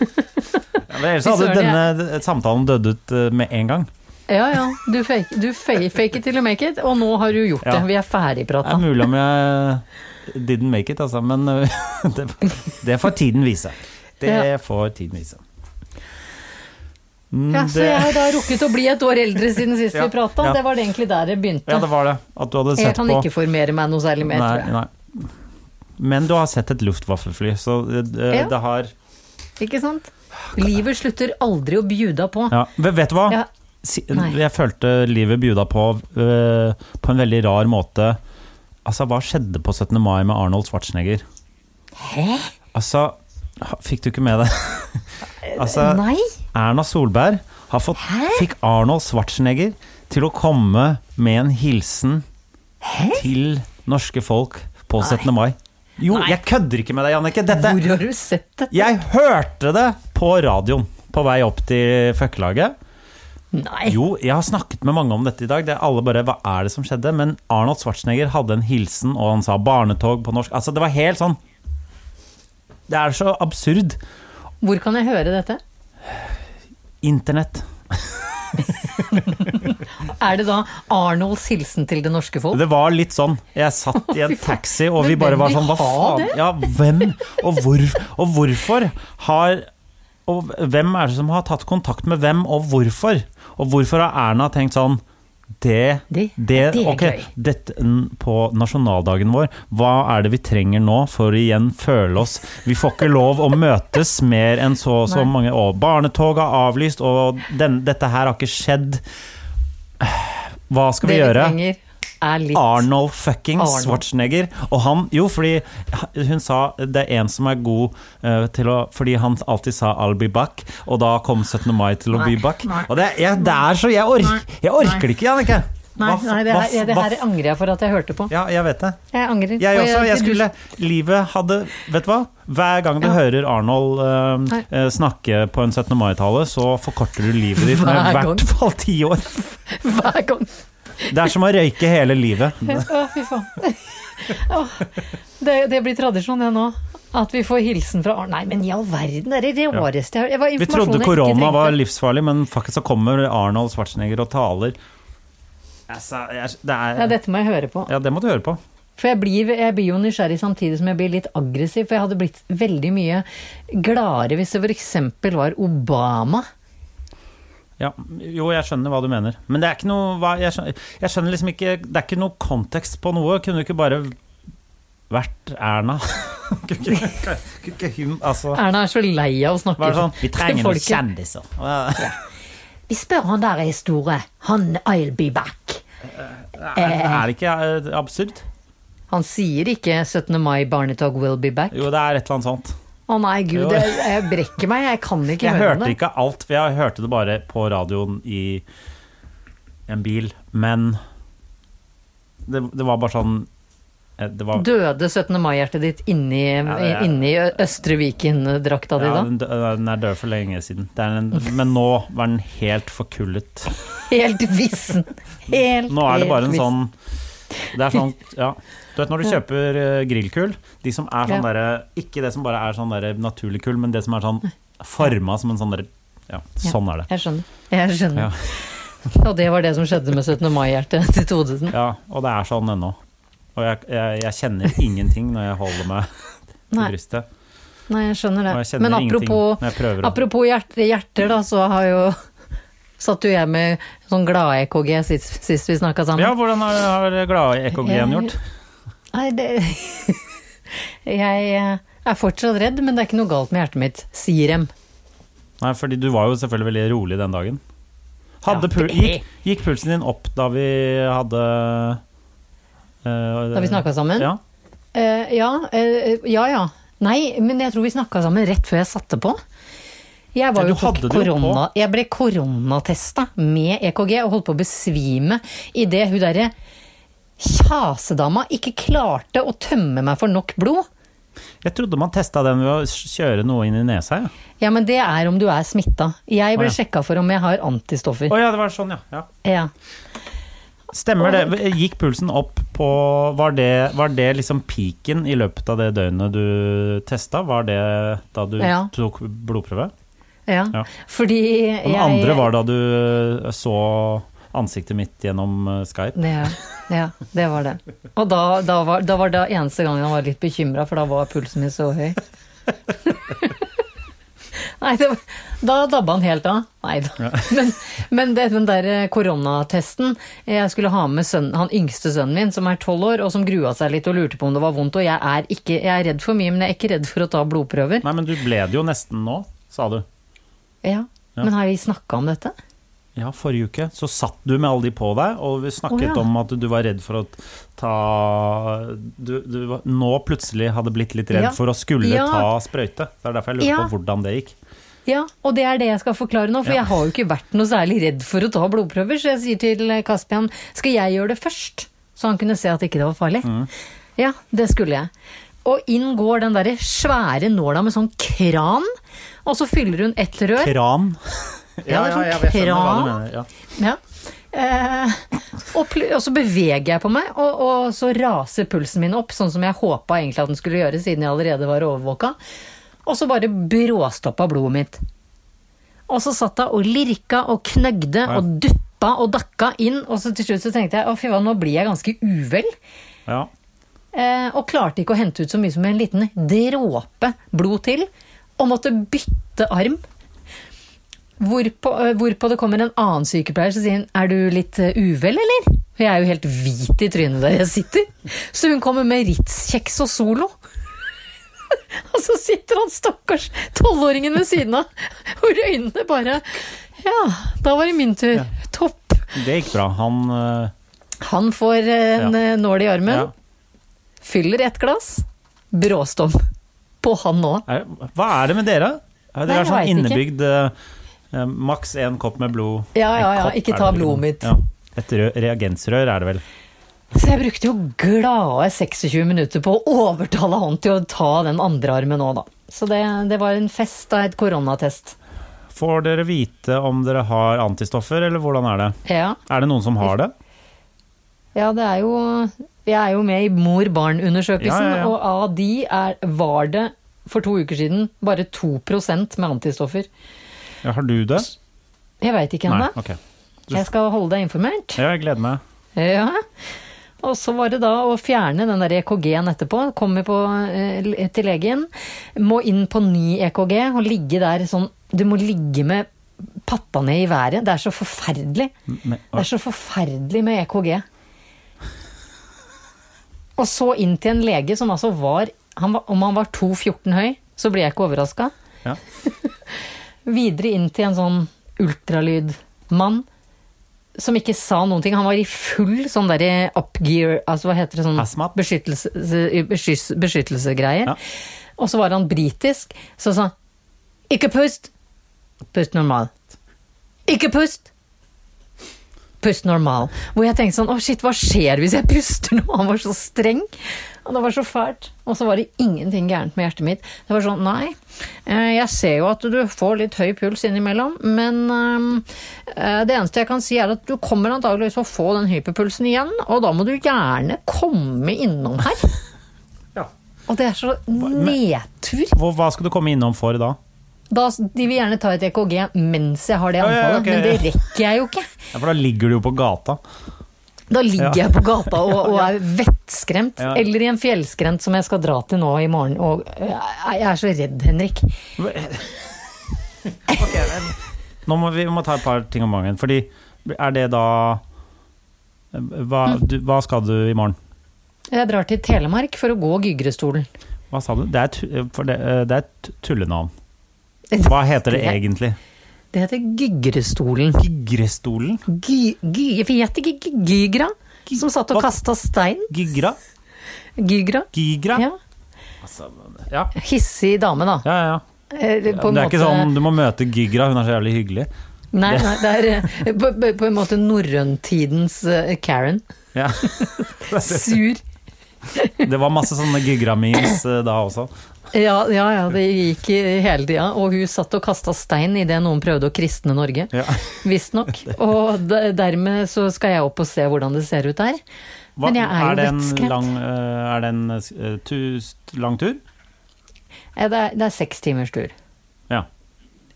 S4: Ja, men ellers hadde
S2: Fy søren,
S4: denne samtalen dødd ut eh, med en gang.
S2: Ja, ja. Du fake, du fake, fake it till you make it, og nå har du gjort
S4: Ja.
S2: det. Vi er
S4: Det er
S2: ferdigprata.
S4: mulig om jeg didn't make it, altså, men eh, det, det får tiden vise.
S2: Ja.
S4: Det får tiden vise. Mm,
S2: Ja, så
S4: det-
S2: jeg har da rukket å bli et år eldre siden sist
S4: Ja,
S2: vi prata.
S4: ja.
S2: Det var det egentlig der det begynte.
S4: ja, det var det. At du hadde
S2: jeg
S4: sett
S2: kan
S4: på
S2: ikke formere meg noe særlig mer,
S4: nei,
S2: tror jeg.
S4: Nei. Men du har sett et luftwaffelfly, så eh,
S2: Ja.
S4: det har
S2: Ikke sant? Livet slutter aldri å bjuda på.
S4: ja. Men Vet du hva?
S2: Ja,
S4: Si-
S2: nei.
S4: Jeg følte livet bjuda på eh, på en veldig rar måte. Altså, hva skjedde på 17. mai med Arnold Schwarzenegger?
S2: Hæ?
S4: Altså, ha- fikk du ikke med det? altså,
S2: Eh, Nei?
S4: Erna Solberg har fått,
S2: Hæ?
S4: fikk Arnold Schwarzenegger til å komme med en hilsen til norske folk på 17. mai. Jo, jeg kødder ikke med deg, Jannicke. Dette,
S2: Hvor har du sett dette?
S4: Jeg hørte det på radioen på vei opp til føkkelaget.
S2: Nei.
S4: Jo, jeg har snakket med mange om dette i dag. Det er alle bare, Hva er det som skjedde? Men Arnold Schwarzenegger hadde en hilsen, og han sa 'barnetog' på norsk. Altså, det var helt sånn Det er så absurd.
S2: Hvor kan jeg høre dette?
S4: Internett.
S2: Er det da Arnolds hilsen til det norske folk?
S4: Det var litt sånn. Jeg satt i en
S2: Fy faen.
S4: taxi, og
S2: Men
S4: vi bare
S2: hvem
S4: var
S2: vil
S4: sånn Hva
S2: ha
S4: faen? Ja, hvem? Og, hvor, og hvorfor har Og hvem er det som har tatt kontakt med hvem, og hvorfor? Og hvorfor har Erna tenkt sånn det,
S2: Det- det er
S4: ok,
S2: gøy.
S4: dette, n- På nasjonaldagen vår, hva er det vi trenger nå for å igjen føle oss Vi får ikke lov å møtes mer enn så og så
S2: Nei.
S4: mange Og barnetog er avlyst, og den, dette her har ikke skjedd. Hva skal vi
S2: det
S4: gjøre?
S2: vi trenger, er litt
S4: Arnold fucking
S2: Arnold.
S4: Schwarzenegger. Og han Jo, fordi hun sa det er en som er god eh, til å Fordi han alltid sa 'I'll be back', og da kom 17. mai til å
S2: Nei,
S4: be back.
S2: nei.
S4: Og det, er- jeg, det er så Jeg, ork,
S2: Nei,
S4: jeg orker det ikke, Jannicke!
S2: Nei,
S4: Hva f-
S2: nei det,
S4: hva
S2: her,
S4: f-
S2: ja, det
S4: hva
S2: her
S4: f-
S2: angrer jeg for at jeg hørte på.
S4: Ja, jeg vet det.
S2: Jeg angrer.
S4: Jeg
S2: Og
S4: også. Jeg
S2: du-
S4: skulle Livet hadde Vet du hva? Hver gang du
S2: Ja.
S4: hører Arnold eh,
S2: Nei.
S4: eh, snakke på en 17. mai-tale, så forkorter du livet ditt med
S2: Hver
S4: i
S2: gang.
S4: hvert fall ti år.
S2: Hver gang.
S4: Det er som å røyke hele livet.
S2: Å, fy faen. Å, Det, det blir tradisjon, det nå. At vi får hilsen fra Arne. Nei, men i all verden, det er det rareste jeg har hørt.
S4: Vi trodde korona var livsfarlig, men faktisk så kommer Arnold Schwarzenegger og taler. Altså, jeg, det er,
S2: ja, Dette må jeg høre på.
S4: ja, det må du høre på.
S2: For jeg blir, jeg blir jo nysgjerrig samtidig som jeg blir litt aggressiv. For jeg hadde blitt veldig mye gladere hvis det f.eks. var Obama.
S4: Ja, jo, jeg skjønner hva du mener. Men det er ikke noe hva- Jeg skjønner, jeg skjønner liksom ikke Det er ikke noe kontekst på noe. Kunne du ikke bare vært Erna? Kunne ikke- kunne ikke hun Altså
S2: Erna er så lei av å snakke
S4: Bare sånn Vi trenger noen
S2: folket.
S4: kjendiser. Ja.
S2: Vi spør han der er store. Han I'll be back.
S4: Er det ikke eh, absurd?
S2: Han sier ikke 17. mai, barnetog will be back.
S4: Jo, det er et eller annet sånt.
S2: Å nei, gud,
S4: Jo.
S2: jeg, jeg brekker meg. Jeg kan ikke
S4: Jeg
S2: høre
S4: hørte
S2: det.
S4: ikke alt, for jeg hørte det bare på radioen i en bil. Men det, det var bare sånn eh, Det var
S2: Døde 17. mai-hjertet ditt inni,
S4: det er-
S2: inni Østre Viken-drakta di da?
S4: ja, den, dø- eh, den er død for lenge siden. Det er en, men nå var den helt forkullet.
S2: Helt vissen! Helt,
S4: Nå er det
S2: helt
S4: bare en
S2: vissen.
S4: sånn Det er sånn Ja. Du vet når du kjøper eh, grillkull, de som er sånn
S2: Ja.
S4: derre Ikke det som bare er sånn derre naturlig kull, men det som er sånn forma som en sånn derre Ja, sånn er det.
S2: Jeg skjønner. Jeg
S4: Ja.
S2: skjønner. Og det var det som skjedde med 17. mai-hjertet til Todesen.
S4: Ja, og det er sånn ennå. Og jeg, jeg, jeg kjenner ingenting når jeg holder meg til
S2: Nei.
S4: brystet.
S2: Nei, jeg skjønner det.
S4: Og jeg kjenner
S2: Men
S4: ingenting
S2: apropos,
S4: når jeg prøver å
S2: apropos hjerte, hjerter, da, så har jo Satt jo jeg med sånn glad-EKG sist, sist vi snakka sammen.
S4: Ja, hvordan har, har glade EKG-en gjort?
S2: Nei, det Jeg eh, er fortsatt redd, men det er ikke noe galt med hjertet mitt, sier dem.
S4: Nei, fordi du var jo selvfølgelig veldig rolig den dagen. Hadde pul gikk, gikk pulsen din opp da vi hadde eh,
S2: Da vi snakka sammen.
S4: Ja.
S2: Eh, ja, eh, ja, ja. Nei, men jeg tror vi snakka sammen rett før jeg satte på. Jeg, var
S4: Ja,
S2: jo
S4: du
S2: tok
S4: hadde det jo
S2: korona, jeg ble koronatesta med EKG og holdt på å besvime idet hun derre kjasedama ikke klarte å tømme meg for nok blod.
S4: Jeg trodde man testa den ved å kjøre noe inn i nesa. jeg.
S2: Ja, men det er om du er smitta. Jeg ble
S4: Å, ja.
S2: sjekka for om jeg har antistoffer.
S4: Å ja, det var sånn, ja. ja.
S2: Ja.
S4: Stemmer det. Gikk pulsen opp på Var det, var det liksom peaken i løpet av det døgnet du testa? Var det da du
S2: Ja.
S4: tok blodprøve?
S2: Ja.
S4: Ja.
S2: Fordi jeg
S4: Og den andre var da du eh, så ansiktet mitt gjennom eh, Skype?
S2: Ja, ja, det var det. Og da, da, var, da var det eneste gangen han var litt bekymra, for da var pulsen min så høy. Nei, det var, da dabba han helt av. Nei da. Men, men det, den der eh, koronatesten eh, Jeg skulle ha med sønnen, han yngste sønnen min, som er tolv år, og som grua seg litt og lurte på om det var vondt. Og jeg er, ikke, jeg er redd for mye, men jeg er ikke redd for å ta blodprøver.
S4: Nei, men du ble det jo nesten nå, sa du.
S2: Ja,
S4: Ja.
S2: Men har vi snakka om dette?
S4: Ja, forrige uke så satt du med alle de på deg, og vi
S2: Å,
S4: snakket
S2: ja.
S4: om at du var redd for å ta Du, du var- nå plutselig hadde blitt litt redd
S2: Ja.
S4: for å skulle
S2: Ja.
S4: ta sprøyte. Det er derfor jeg lurer
S2: Ja.
S4: på hvordan det gikk.
S2: Ja, og det er det jeg skal forklare nå, for
S4: Ja.
S2: jeg har jo ikke vært noe særlig redd for å ta blodprøver, så jeg sier til Kaspian, skal jeg gjøre det først? Så han kunne se at ikke det var farlig.
S4: Mm.
S2: Ja, det skulle jeg. Og inn går den derre svære nåla med sånn kran, og så fyller hun ett rør.
S4: Kran.
S2: Ja, det er sånn
S4: jeg skjønner hva du
S2: kran.
S4: mener, ja.
S2: Ja. Eh, og, pl- og så beveger jeg på meg, og, og så raser pulsen min opp, sånn som jeg håpa egentlig at den skulle gjøre, siden jeg allerede var overvåka. Og så bare bråstoppa blodet mitt. Og så satt hun og lirka og knøgde og dutta dippa og dakka inn, og så til slutt så tenkte jeg å fy faen, nå blir jeg ganske uvel.
S4: Ja.
S2: Eh, og klarte ikke å hente ut så mye som en liten dråpe blod til. Og måtte bytte arm. Hvorpå, eh, hvorpå det kommer en annen sykepleier så sier hun, er du litt eh, uvel, eller? For jeg er jo helt hvit i trynet der jeg sitter. Så hun kommer med Ritz-kjeks og Solo. Og så sitter han stakkars tolvåringen ved siden av, hvor øynene bare Ja, da var det min tur. Topp.
S4: Det gikk bra. Han eh,
S2: Han får eh, en
S4: Ja.
S2: eh, nål i armen.
S4: ja.
S2: Fyller ett glass. Bråstom. På han nå.
S4: er, Hva er det med dere?
S2: Nei,
S4: Er dere
S2: jeg
S4: er sånn
S2: vet ikke.
S4: innebygd eh, eh, Maks én kopp med blod.
S2: Ja,
S4: En
S2: ja, ja,
S4: kopp
S2: ikke
S4: er
S2: ta
S4: det vel.
S2: blodet mitt.
S4: Ja. Et rø- reagensrør er det vel.
S2: Så jeg brukte jo glade 26 minutter på å overtale han til å ta den andre armen nå, da. Så det, det var en fest av et koronatest.
S4: Får dere vite om dere har antistoffer, eller hvordan er det?
S2: Ja.
S4: Er det noen som har det?
S2: ja, det er jo Jeg er jo med i mor-barn-undersøkelsen,
S4: Ja, ja, ja.
S2: og av de er, var det for to uker siden bare 2 med antistoffer.
S4: Ja, har du det?
S2: Jeg veit ikke
S4: Nei,
S2: ennå.
S4: ok.
S2: Jeg skal holde deg informert.
S4: Ja, jeg gleder meg.
S2: Ja. Og så var det da å fjerne den der EKG-en etterpå. Kommer på, eh, l- til legen, må inn på ny EKG og ligge der sånn Du må ligge med patta ned i været. Det er så forferdelig.
S4: Men,
S2: Det er så forferdelig med E EKG. Og så inn til en lege som altså var, han var Om han var 2,14 høy, så blir jeg ikke overraska.
S4: Ja.
S2: Videre inn til en sånn ultralydmann som ikke sa noen ting. Han var i full sånn derre upgear, altså hva heter det sånn
S4: Hazmat?
S2: beskyttelse, beskyttelse, beskyttelsegreier.
S4: Ja.
S2: Og så var han britisk, så sa han ikke pust! Pust normalt. Ikke pust! Pust normal. Hvor jeg tenkte sånn, å shit, hva skjer hvis jeg puster nå? Han var så streng. Og det var så fælt. Og så var det ingenting gærent med hjertet mitt. Det var sånn, nei, eh, jeg ser jo at du får litt høy puls innimellom, men eh, det eneste jeg kan si er at du kommer antageligvis å få den hyperpulsen igjen, og da må du gjerne komme innom her.
S4: Ja.
S2: Og det er så nedtur.
S4: Hvor, hva skal du komme innom for da?
S2: Da, de vil gjerne ta et EKG mens jeg har det
S4: Ja, ja,
S2: anfallet,
S4: ok.
S2: men det rekker jeg jo ikke.
S4: Ja, for da ligger du jo på gata.
S2: Da ligger
S4: Ja.
S2: jeg på gata og, og er vettskremt.
S4: Ja.
S2: Eller i en fjellskrent som jeg skal dra til nå i morgen. Og øh, jeg jeg er så redd, Henrik.
S4: Nå må vi vi må ta et par ting om gangen. Fordi er det da hva,
S2: Mm.
S4: du, hva skal du i morgen?
S2: Jeg drar til Telemark for å gå Gygrestolen.
S4: Hva sa du? Det er, tu- for det, eh, det er et tullenavn. Hva heter det egentlig?
S2: Det heter Gygrestolen.
S4: Gigrestolen?
S2: Gy, gy, jeg vet ikke gy- Gygra, som satt og
S4: Hva?
S2: kasta stein.
S4: Gigra?
S2: Gygra.
S4: Gigra?
S2: Ja.
S4: ja.
S2: Hissig dame, da.
S4: Ja, ja.
S2: Eh, På
S4: Men
S2: en
S4: det er ikke
S2: måte-
S4: sånn du må møte Gigra, hun er så jævlig hyggelig.
S2: Nei, nei, det er eh, på, på, på en måte norrøntidens eh, Karen.
S4: Ja.
S2: Sur.
S4: Det var masse sånne Gigra-memes eh, da også.
S2: Ja, ja, ja, det gikk i- hele tida. Og hun satt og kasta stein idet noen prøvde å kristne Norge.
S4: Ja.
S2: Visstnok. Og de- dermed så skal jeg opp og se hvordan det ser ut der.
S4: Hva-
S2: Men jeg er,
S4: det
S2: jo
S4: en
S2: vettskremt.
S4: lang, eh, Er det en eh, tu, st- lang tur?
S2: Ja, det, er, det er seks timers tur.
S4: Ja.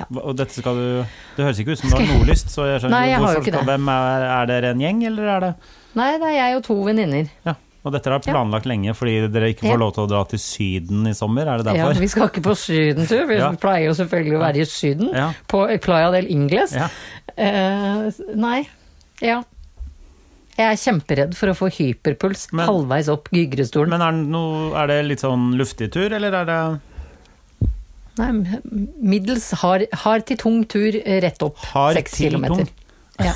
S2: Ja.
S4: Hva- Og dette skal du Det høres ikke ut som du har nordlyst, så jeg skjønner
S2: Nei, jeg har jo
S4: hvorfor
S2: ikke det.
S4: skal- Hvem er, er dere en gjeng, eller er det
S2: Nei, det er jeg og to venninner.
S4: Ja. Og dette er planlagt lenge fordi dere ikke får
S2: Ja.
S4: lov til å dra til Syden i sommer, er det
S2: Ja,
S4: derfor?
S2: vi skal ikke på sydentur, vi
S4: Ja.
S2: pleier jo selvfølgelig å være i Syden.
S4: Ja.
S2: På Playa del Ingles.
S4: Ja.
S2: Eh, nei. Ja. Jeg er kjemperedd for å få hyperpuls
S4: Men-
S2: halvveis opp Gygrestolen.
S4: Men er, det noe- er det litt sånn luftig tur, eller er det
S2: Nei, m- middels hard, hard til tung tur eh, rett opp.
S4: Hard
S2: Seks
S4: til
S2: kilometer.
S4: tung?
S2: Ja.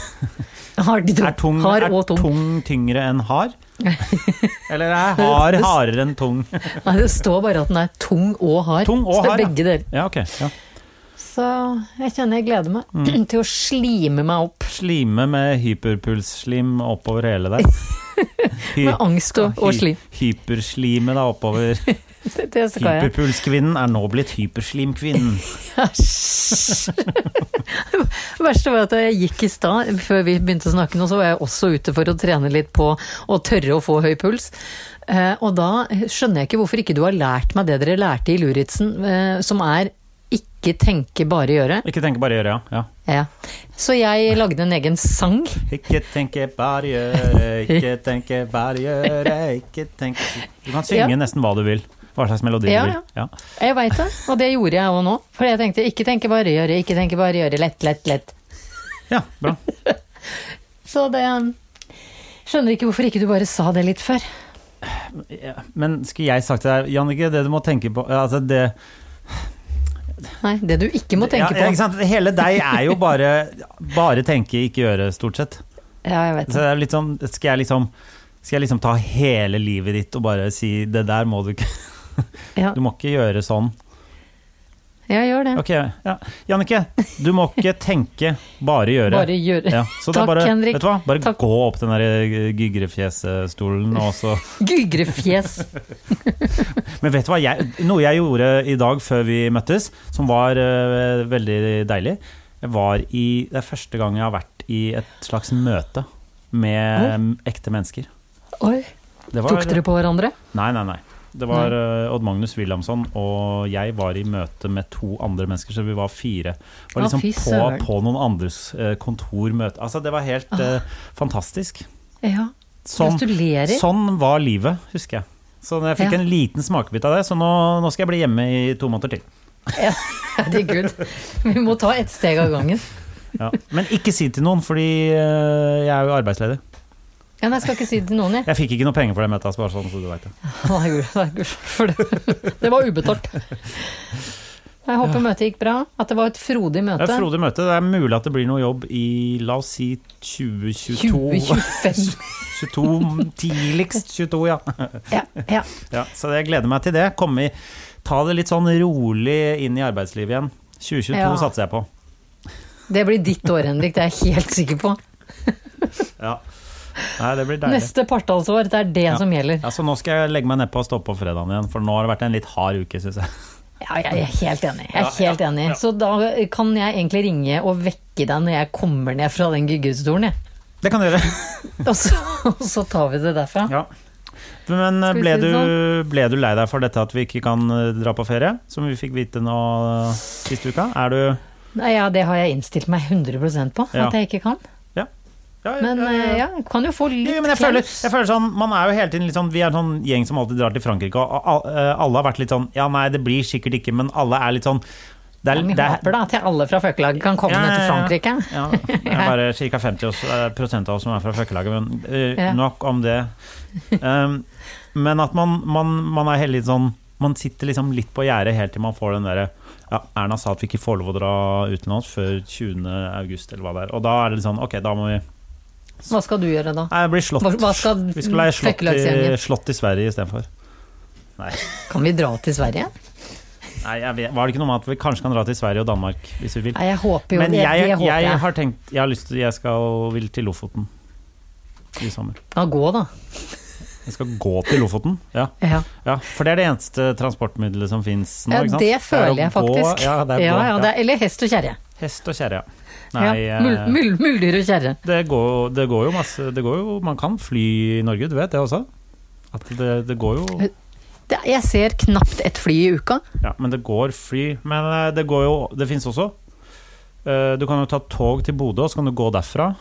S2: Hard til tung.
S4: Er tung,
S2: hard
S4: er
S2: og tung.
S4: tung tyngre enn hard? Eller er hard hardere enn tung?
S2: Nei, det står bare at den er tung og hard.
S4: Tung og
S2: så det er
S4: hard, ja.
S2: begge deler.
S4: Ja, ok. Ja.
S2: Så jeg kjenner jeg gleder meg
S4: Mm.
S2: til å slime meg opp
S4: Slime med hyperpulsslim oppover hele der. Hy-
S2: med angst og, og
S4: hy-
S2: slim.
S4: Hyperslime da oppover.
S2: Det, det skal jeg.
S4: Hyperpulskvinnen er nå blitt hyperslimkvinnen.
S2: Æsj. Det verste var at jeg gikk i stad, før vi begynte å snakke nå, så var jeg også ute for å trene litt på å tørre å få høy puls. Eh, og da skjønner jeg ikke hvorfor ikke du har lært meg det dere lærte i Luritzen, eh, som er Ikke tenke, bare gjøre.
S4: Ikke tenke, bare gjøre, ja. ja.
S2: Ja. Så jeg lagde en egen sang.
S4: Ikke tenke, bare gjøre, ikke tenke, bare gjøre, ikke tenke Du kan synge
S2: Ja.
S4: nesten hva du vil. Hva slags melodi
S2: Ja,
S4: du vil. Ja.
S2: Jeg veit det, og det gjorde jeg òg nå. For jeg tenkte ikke tenke, bare gjøre, ikke tenke, bare gjøre. Lett, lett, lett.
S4: ja, bra.
S2: Så det Skjønner ikke hvorfor ikke du bare sa det litt før.
S4: Men skulle jeg sagt til deg, Jannicke, det du må tenke på altså det,
S2: Nei, det du ikke må tenke
S4: ja, ja, Ikke
S2: på.
S4: sant? Hele deg er jo bare, bare tenke, ikke gjøre, stort sett.
S2: Ja, jeg vet
S4: Så
S2: det.
S4: det er litt sånn, skal jeg liksom skal jeg liksom ta hele livet ditt og bare si det der må du ikke
S2: Ja,
S4: Du må ikke gjøre sånn.
S2: jeg gjør det.
S4: Ok, ja. Jannicke, du må ikke tenke, bare gjøre.
S2: Bare gjøre.
S4: Ja, så det er
S2: Takk,
S4: bare,
S2: Henrik.
S4: Vet du hva? Bare
S2: Takk.
S4: gå opp den der gygrefjesstolen og så
S2: Gygrefjes.
S4: Men vet du hva, jeg, noe jeg gjorde i dag før vi møttes, som var eh, veldig deilig Jeg var i Det er første gang jeg har vært i et slags møte med eh, ekte mennesker.
S2: Oi.
S4: Det var-
S2: Tok dere på hverandre?
S4: Nei, nei, nei. Det var eh, Odd Magnus Wilhelmsson og jeg var i møte med to andre mennesker, så vi var fire.
S2: Å,
S4: Var liksom
S2: fy
S4: på,
S2: søren.
S4: på noen andres eh, kontormøte. Altså, det var helt eh, fantastisk.
S2: Ja.
S4: Sånn,
S2: Ah. Gratulerer.
S4: sånn var livet, husker jeg. Så jeg fikk
S2: Ja.
S4: en liten smakebit av det, så nå, nå skal jeg bli hjemme i to måneder til.
S2: Herregud. Vi må ta ett steg av gangen.
S4: Ja. Men ikke si det til noen, fordi eh, jeg er jo arbeidsledig.
S2: Ja, nei, jeg skal ikke si det til noen, jeg.
S4: Jeg fikk ikke noe penger for det møtet, altså, bare sånn så du vet det.
S2: Nei, gud, nei, gud, for det. det var ubetalt. Jeg håper møtet gikk bra. At det var et frodig
S4: Det
S2: møte.
S4: er et frodig møte. Det er mulig at det blir noe jobb i, la oss si, 2022.
S2: 2025.
S4: 22, tidligst 22, ja.
S2: Ja, ja.
S4: ja. Så jeg gleder meg til det. Kom i, ta det litt sånn rolig inn i arbeidslivet igjen. 2022
S2: Ja.
S4: satser jeg på.
S2: Det blir ditt år, Henrik. Det er jeg helt sikker på.
S4: Ja. Nei, det blir deilig.
S2: Neste partallsår. Det er det som gjelder.
S4: Ja, så nå skal jeg legge meg nedpå og stå opp på fredagen igjen, for nå har det vært en litt hard uke, syns jeg.
S2: Ja, jeg er helt enig. Jeg er
S4: Ja, ja,
S2: helt enig.
S4: ja.
S2: Så da kan jeg egentlig ringe og vekke deg når jeg kommer ned fra den gyggestolen, jeg.
S4: Det kan du gjøre.
S2: Og så, og så tar vi det derfra.
S4: Ja. Men eh,
S2: vi
S4: ble
S2: si
S4: du,
S2: det sånn?
S4: ble du lei deg for dette at vi ikke kan eh, dra på ferie, som vi fikk vite nå eh, siste uka? Er du
S2: Nei, ja, det har jeg innstilt meg 100 på,
S4: Ja.
S2: at jeg ikke kan.
S4: Ja, ja,
S2: Men
S4: ja, ja.
S2: eh, ja, kan jo få litt
S4: Jo, men jeg føler,
S2: kjems.
S4: jeg føler sånn, man er jo hele tiden litt sånn Vi er en sånn gjeng som alltid drar til Frankrike Og al- eh, alle har vært litt sånn Ja, nei, det blir sikkert ikke Men alle er litt sånn det er,
S2: Men Vi
S4: det er-
S2: håper da at alle fra føkkelaget kan komme
S4: Ja,
S2: ned til
S4: ja, ja.
S2: Frankrike.
S4: Ja, det er bare ca. 50 oss- eh, prosent av oss som er fra føkkelaget Men eh,
S2: Ja.
S4: nok om det um, Men at man, man, man er hele litt sånn Man sitter liksom litt på gjerdet Helt til man får den der ja, Erna sa at vi ikke får lov å dra utenlands Før 20. august eller hva det er Og da er det litt sånn, ok, da må vi
S2: Hva skal du gjøre da?
S4: Nei, jeg blir slått
S2: Hva, hva skal
S4: Vi skulle ha slått i,
S2: føkkelagshjemmet?
S4: slått i Sverige istedenfor.
S2: Kan vi dra til Sverige?
S4: Nei, jeg vet, var det ikke noe med at vi kanskje kan dra til Sverige og Danmark hvis vi vil?
S2: Nei, jeg håper jo
S4: Men
S2: det.
S4: jeg,
S2: det håper jeg.
S4: jeg har tenkt Jeg har lyst til Jeg skal vil til Lofoten i sommer.
S2: Da gå, da.
S4: Jeg skal gå til Lofoten? Ja.
S2: Ja.
S4: ja for det er det eneste transportmiddelet som fins nå?
S2: Ja,
S4: ikke sant?
S2: det føler
S4: er å
S2: jeg
S4: gå-
S2: faktisk.
S4: Ja, det er
S2: ja,
S4: gå,
S2: ja,
S4: ja.
S2: det er, eller hest og kjerre.
S4: Hest og kjerre, ja. Nei,
S2: Ja, mul,
S4: eh,
S2: mul, muldyr og kjerre.
S4: Det, går, det går jo masse det går jo, Man kan fly i Norge, du vet det også? At det, det går jo
S2: Eh. Det- Jeg ser knapt et fly i uka.
S4: Ja, men det går fly. Men eh, det går jo Det fins også. Eh, Du kan jo ta tog til Bodø, og så kan du gå derfra.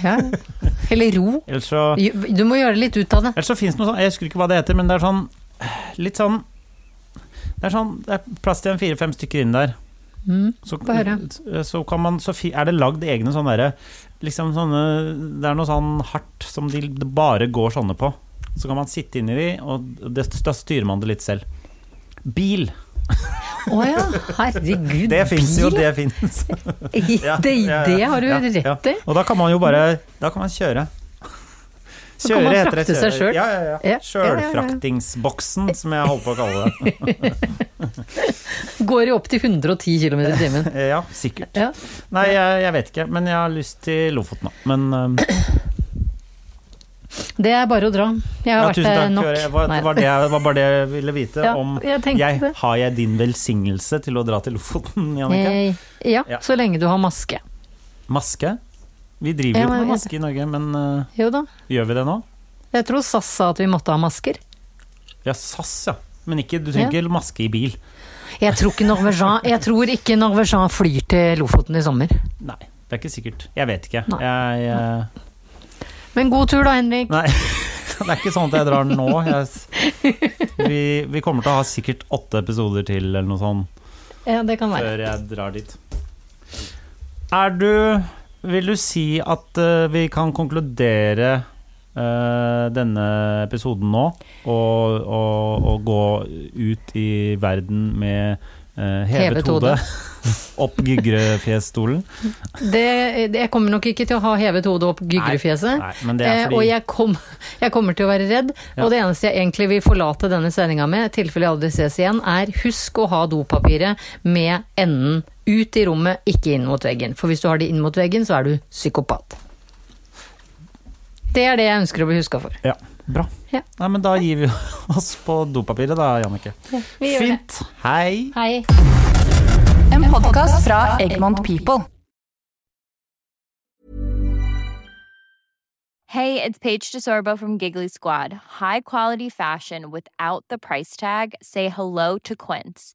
S2: Ja. Eller ro.
S4: Eller så,
S2: Jo, Du må gjøre litt ut av det.
S4: ellers så fins det noe sånn Jeg husker ikke hva det heter, men det er sånn Litt sånn Det er sånn Det er plass til en fire-fem stykker inn der.
S2: Mm.
S4: Så,
S2: Få høre.
S4: så kan man Så fi- er det lagd egne sånne derre Liksom sånne Det er noe sånn hardt som de det bare går sånne på. Så kan man sitte inni de, og det, da styrer man det litt selv. Bil!
S2: Å ja, herregud.
S4: Det fins jo,
S2: bil.
S4: det fins. Ja,
S2: det,
S4: ja, ja.
S2: det har du
S4: Ja, ja.
S2: rett i.
S4: Og da kan man jo bare Da kan man kjøre.
S2: Så kan man
S4: heter det,
S2: frakte seg
S4: kjøre.
S2: selv.
S4: Ja, ja,
S2: Ja, ja, ja,
S4: ja.
S2: ja.
S4: Sjølfraktingsboksen, som jeg holdt på å kalle det.
S2: Går i opptil 110 km i timen.
S4: Ja, sikkert.
S2: Ja.
S4: Nei, jeg, jeg vet ikke, men jeg har lyst til Lofoten nå. Men um,
S2: Det er bare å dra. Jeg har
S4: ja,
S2: vært
S4: tusen takk.
S2: der nok.
S4: Kåre. Det var,
S2: Nei.
S4: det var, det, jeg- det var bare det jeg ville vite
S2: Ja,
S4: om
S2: jeg tenkte det.
S4: Har jeg din velsignelse til å dra til Lofoten, Jannicke?
S2: Eh, Ja,
S4: Ja.
S2: så lenge du har maske.
S4: Maske? Vi driver
S2: Ja,
S4: jo ikke
S2: jeg
S4: med
S2: vet
S4: maske i Norge, men uh,
S2: Jo da.
S4: gjør vi det nå?
S2: Jeg tror SAS sa at vi måtte ha masker.
S4: Ja, SAS, ja. men ikke, du trenger
S2: Ja.
S4: ikke maske i bil.
S2: Jeg tror ikke Norwegian, jeg tror ikke Norwegian flyr til Lofoten i sommer.
S4: Nei, det er ikke sikkert. Jeg vet ikke.
S2: Nei.
S4: Jeg, eh,
S2: Men god tur da, Henrik.
S4: nei. Det er ikke sånn at jeg drar nå. Jeg, s- vi, vi kommer til å ha sikkert åtte episoder til eller noe sånt
S2: Ja, det kan være.
S4: før jeg drar dit. Er du Vil du si at eh, vi kan konkludere eh, denne episoden nå og, og, og gå ut i verden med eh,
S2: Hevet
S4: hevet hode?
S2: hode.
S4: Opp Gygrefjesstolen?
S2: Det, det, jeg kommer nok ikke til å ha hevet hodet opp gygrefjeset.
S4: Nei, men det er
S2: eh, og
S4: fordi
S2: jeg, kom, jeg kommer til å være redd.
S4: Ja.
S2: Og det eneste jeg egentlig vil forlate denne sendinga med, i tilfelle jeg aldri ses igjen, er husk å ha dopapiret med enden ut i rommet, ikke inn mot veggen. For hvis du har det inn mot veggen, så er du psykopat. Det er det jeg ønsker å bli huska for.
S4: Ja, bra.
S2: Ja.
S4: Nei, men da gir vi oss på dopapiret da, Jannicke.
S2: vi gjør det.
S4: Fint. Hei.
S2: Hei.
S5: En podkast fra Egmont People.
S6: Hey, it's Paige DeSorbo from Giggly Squad. High quality fashion without the price tag. Say hello to Quince.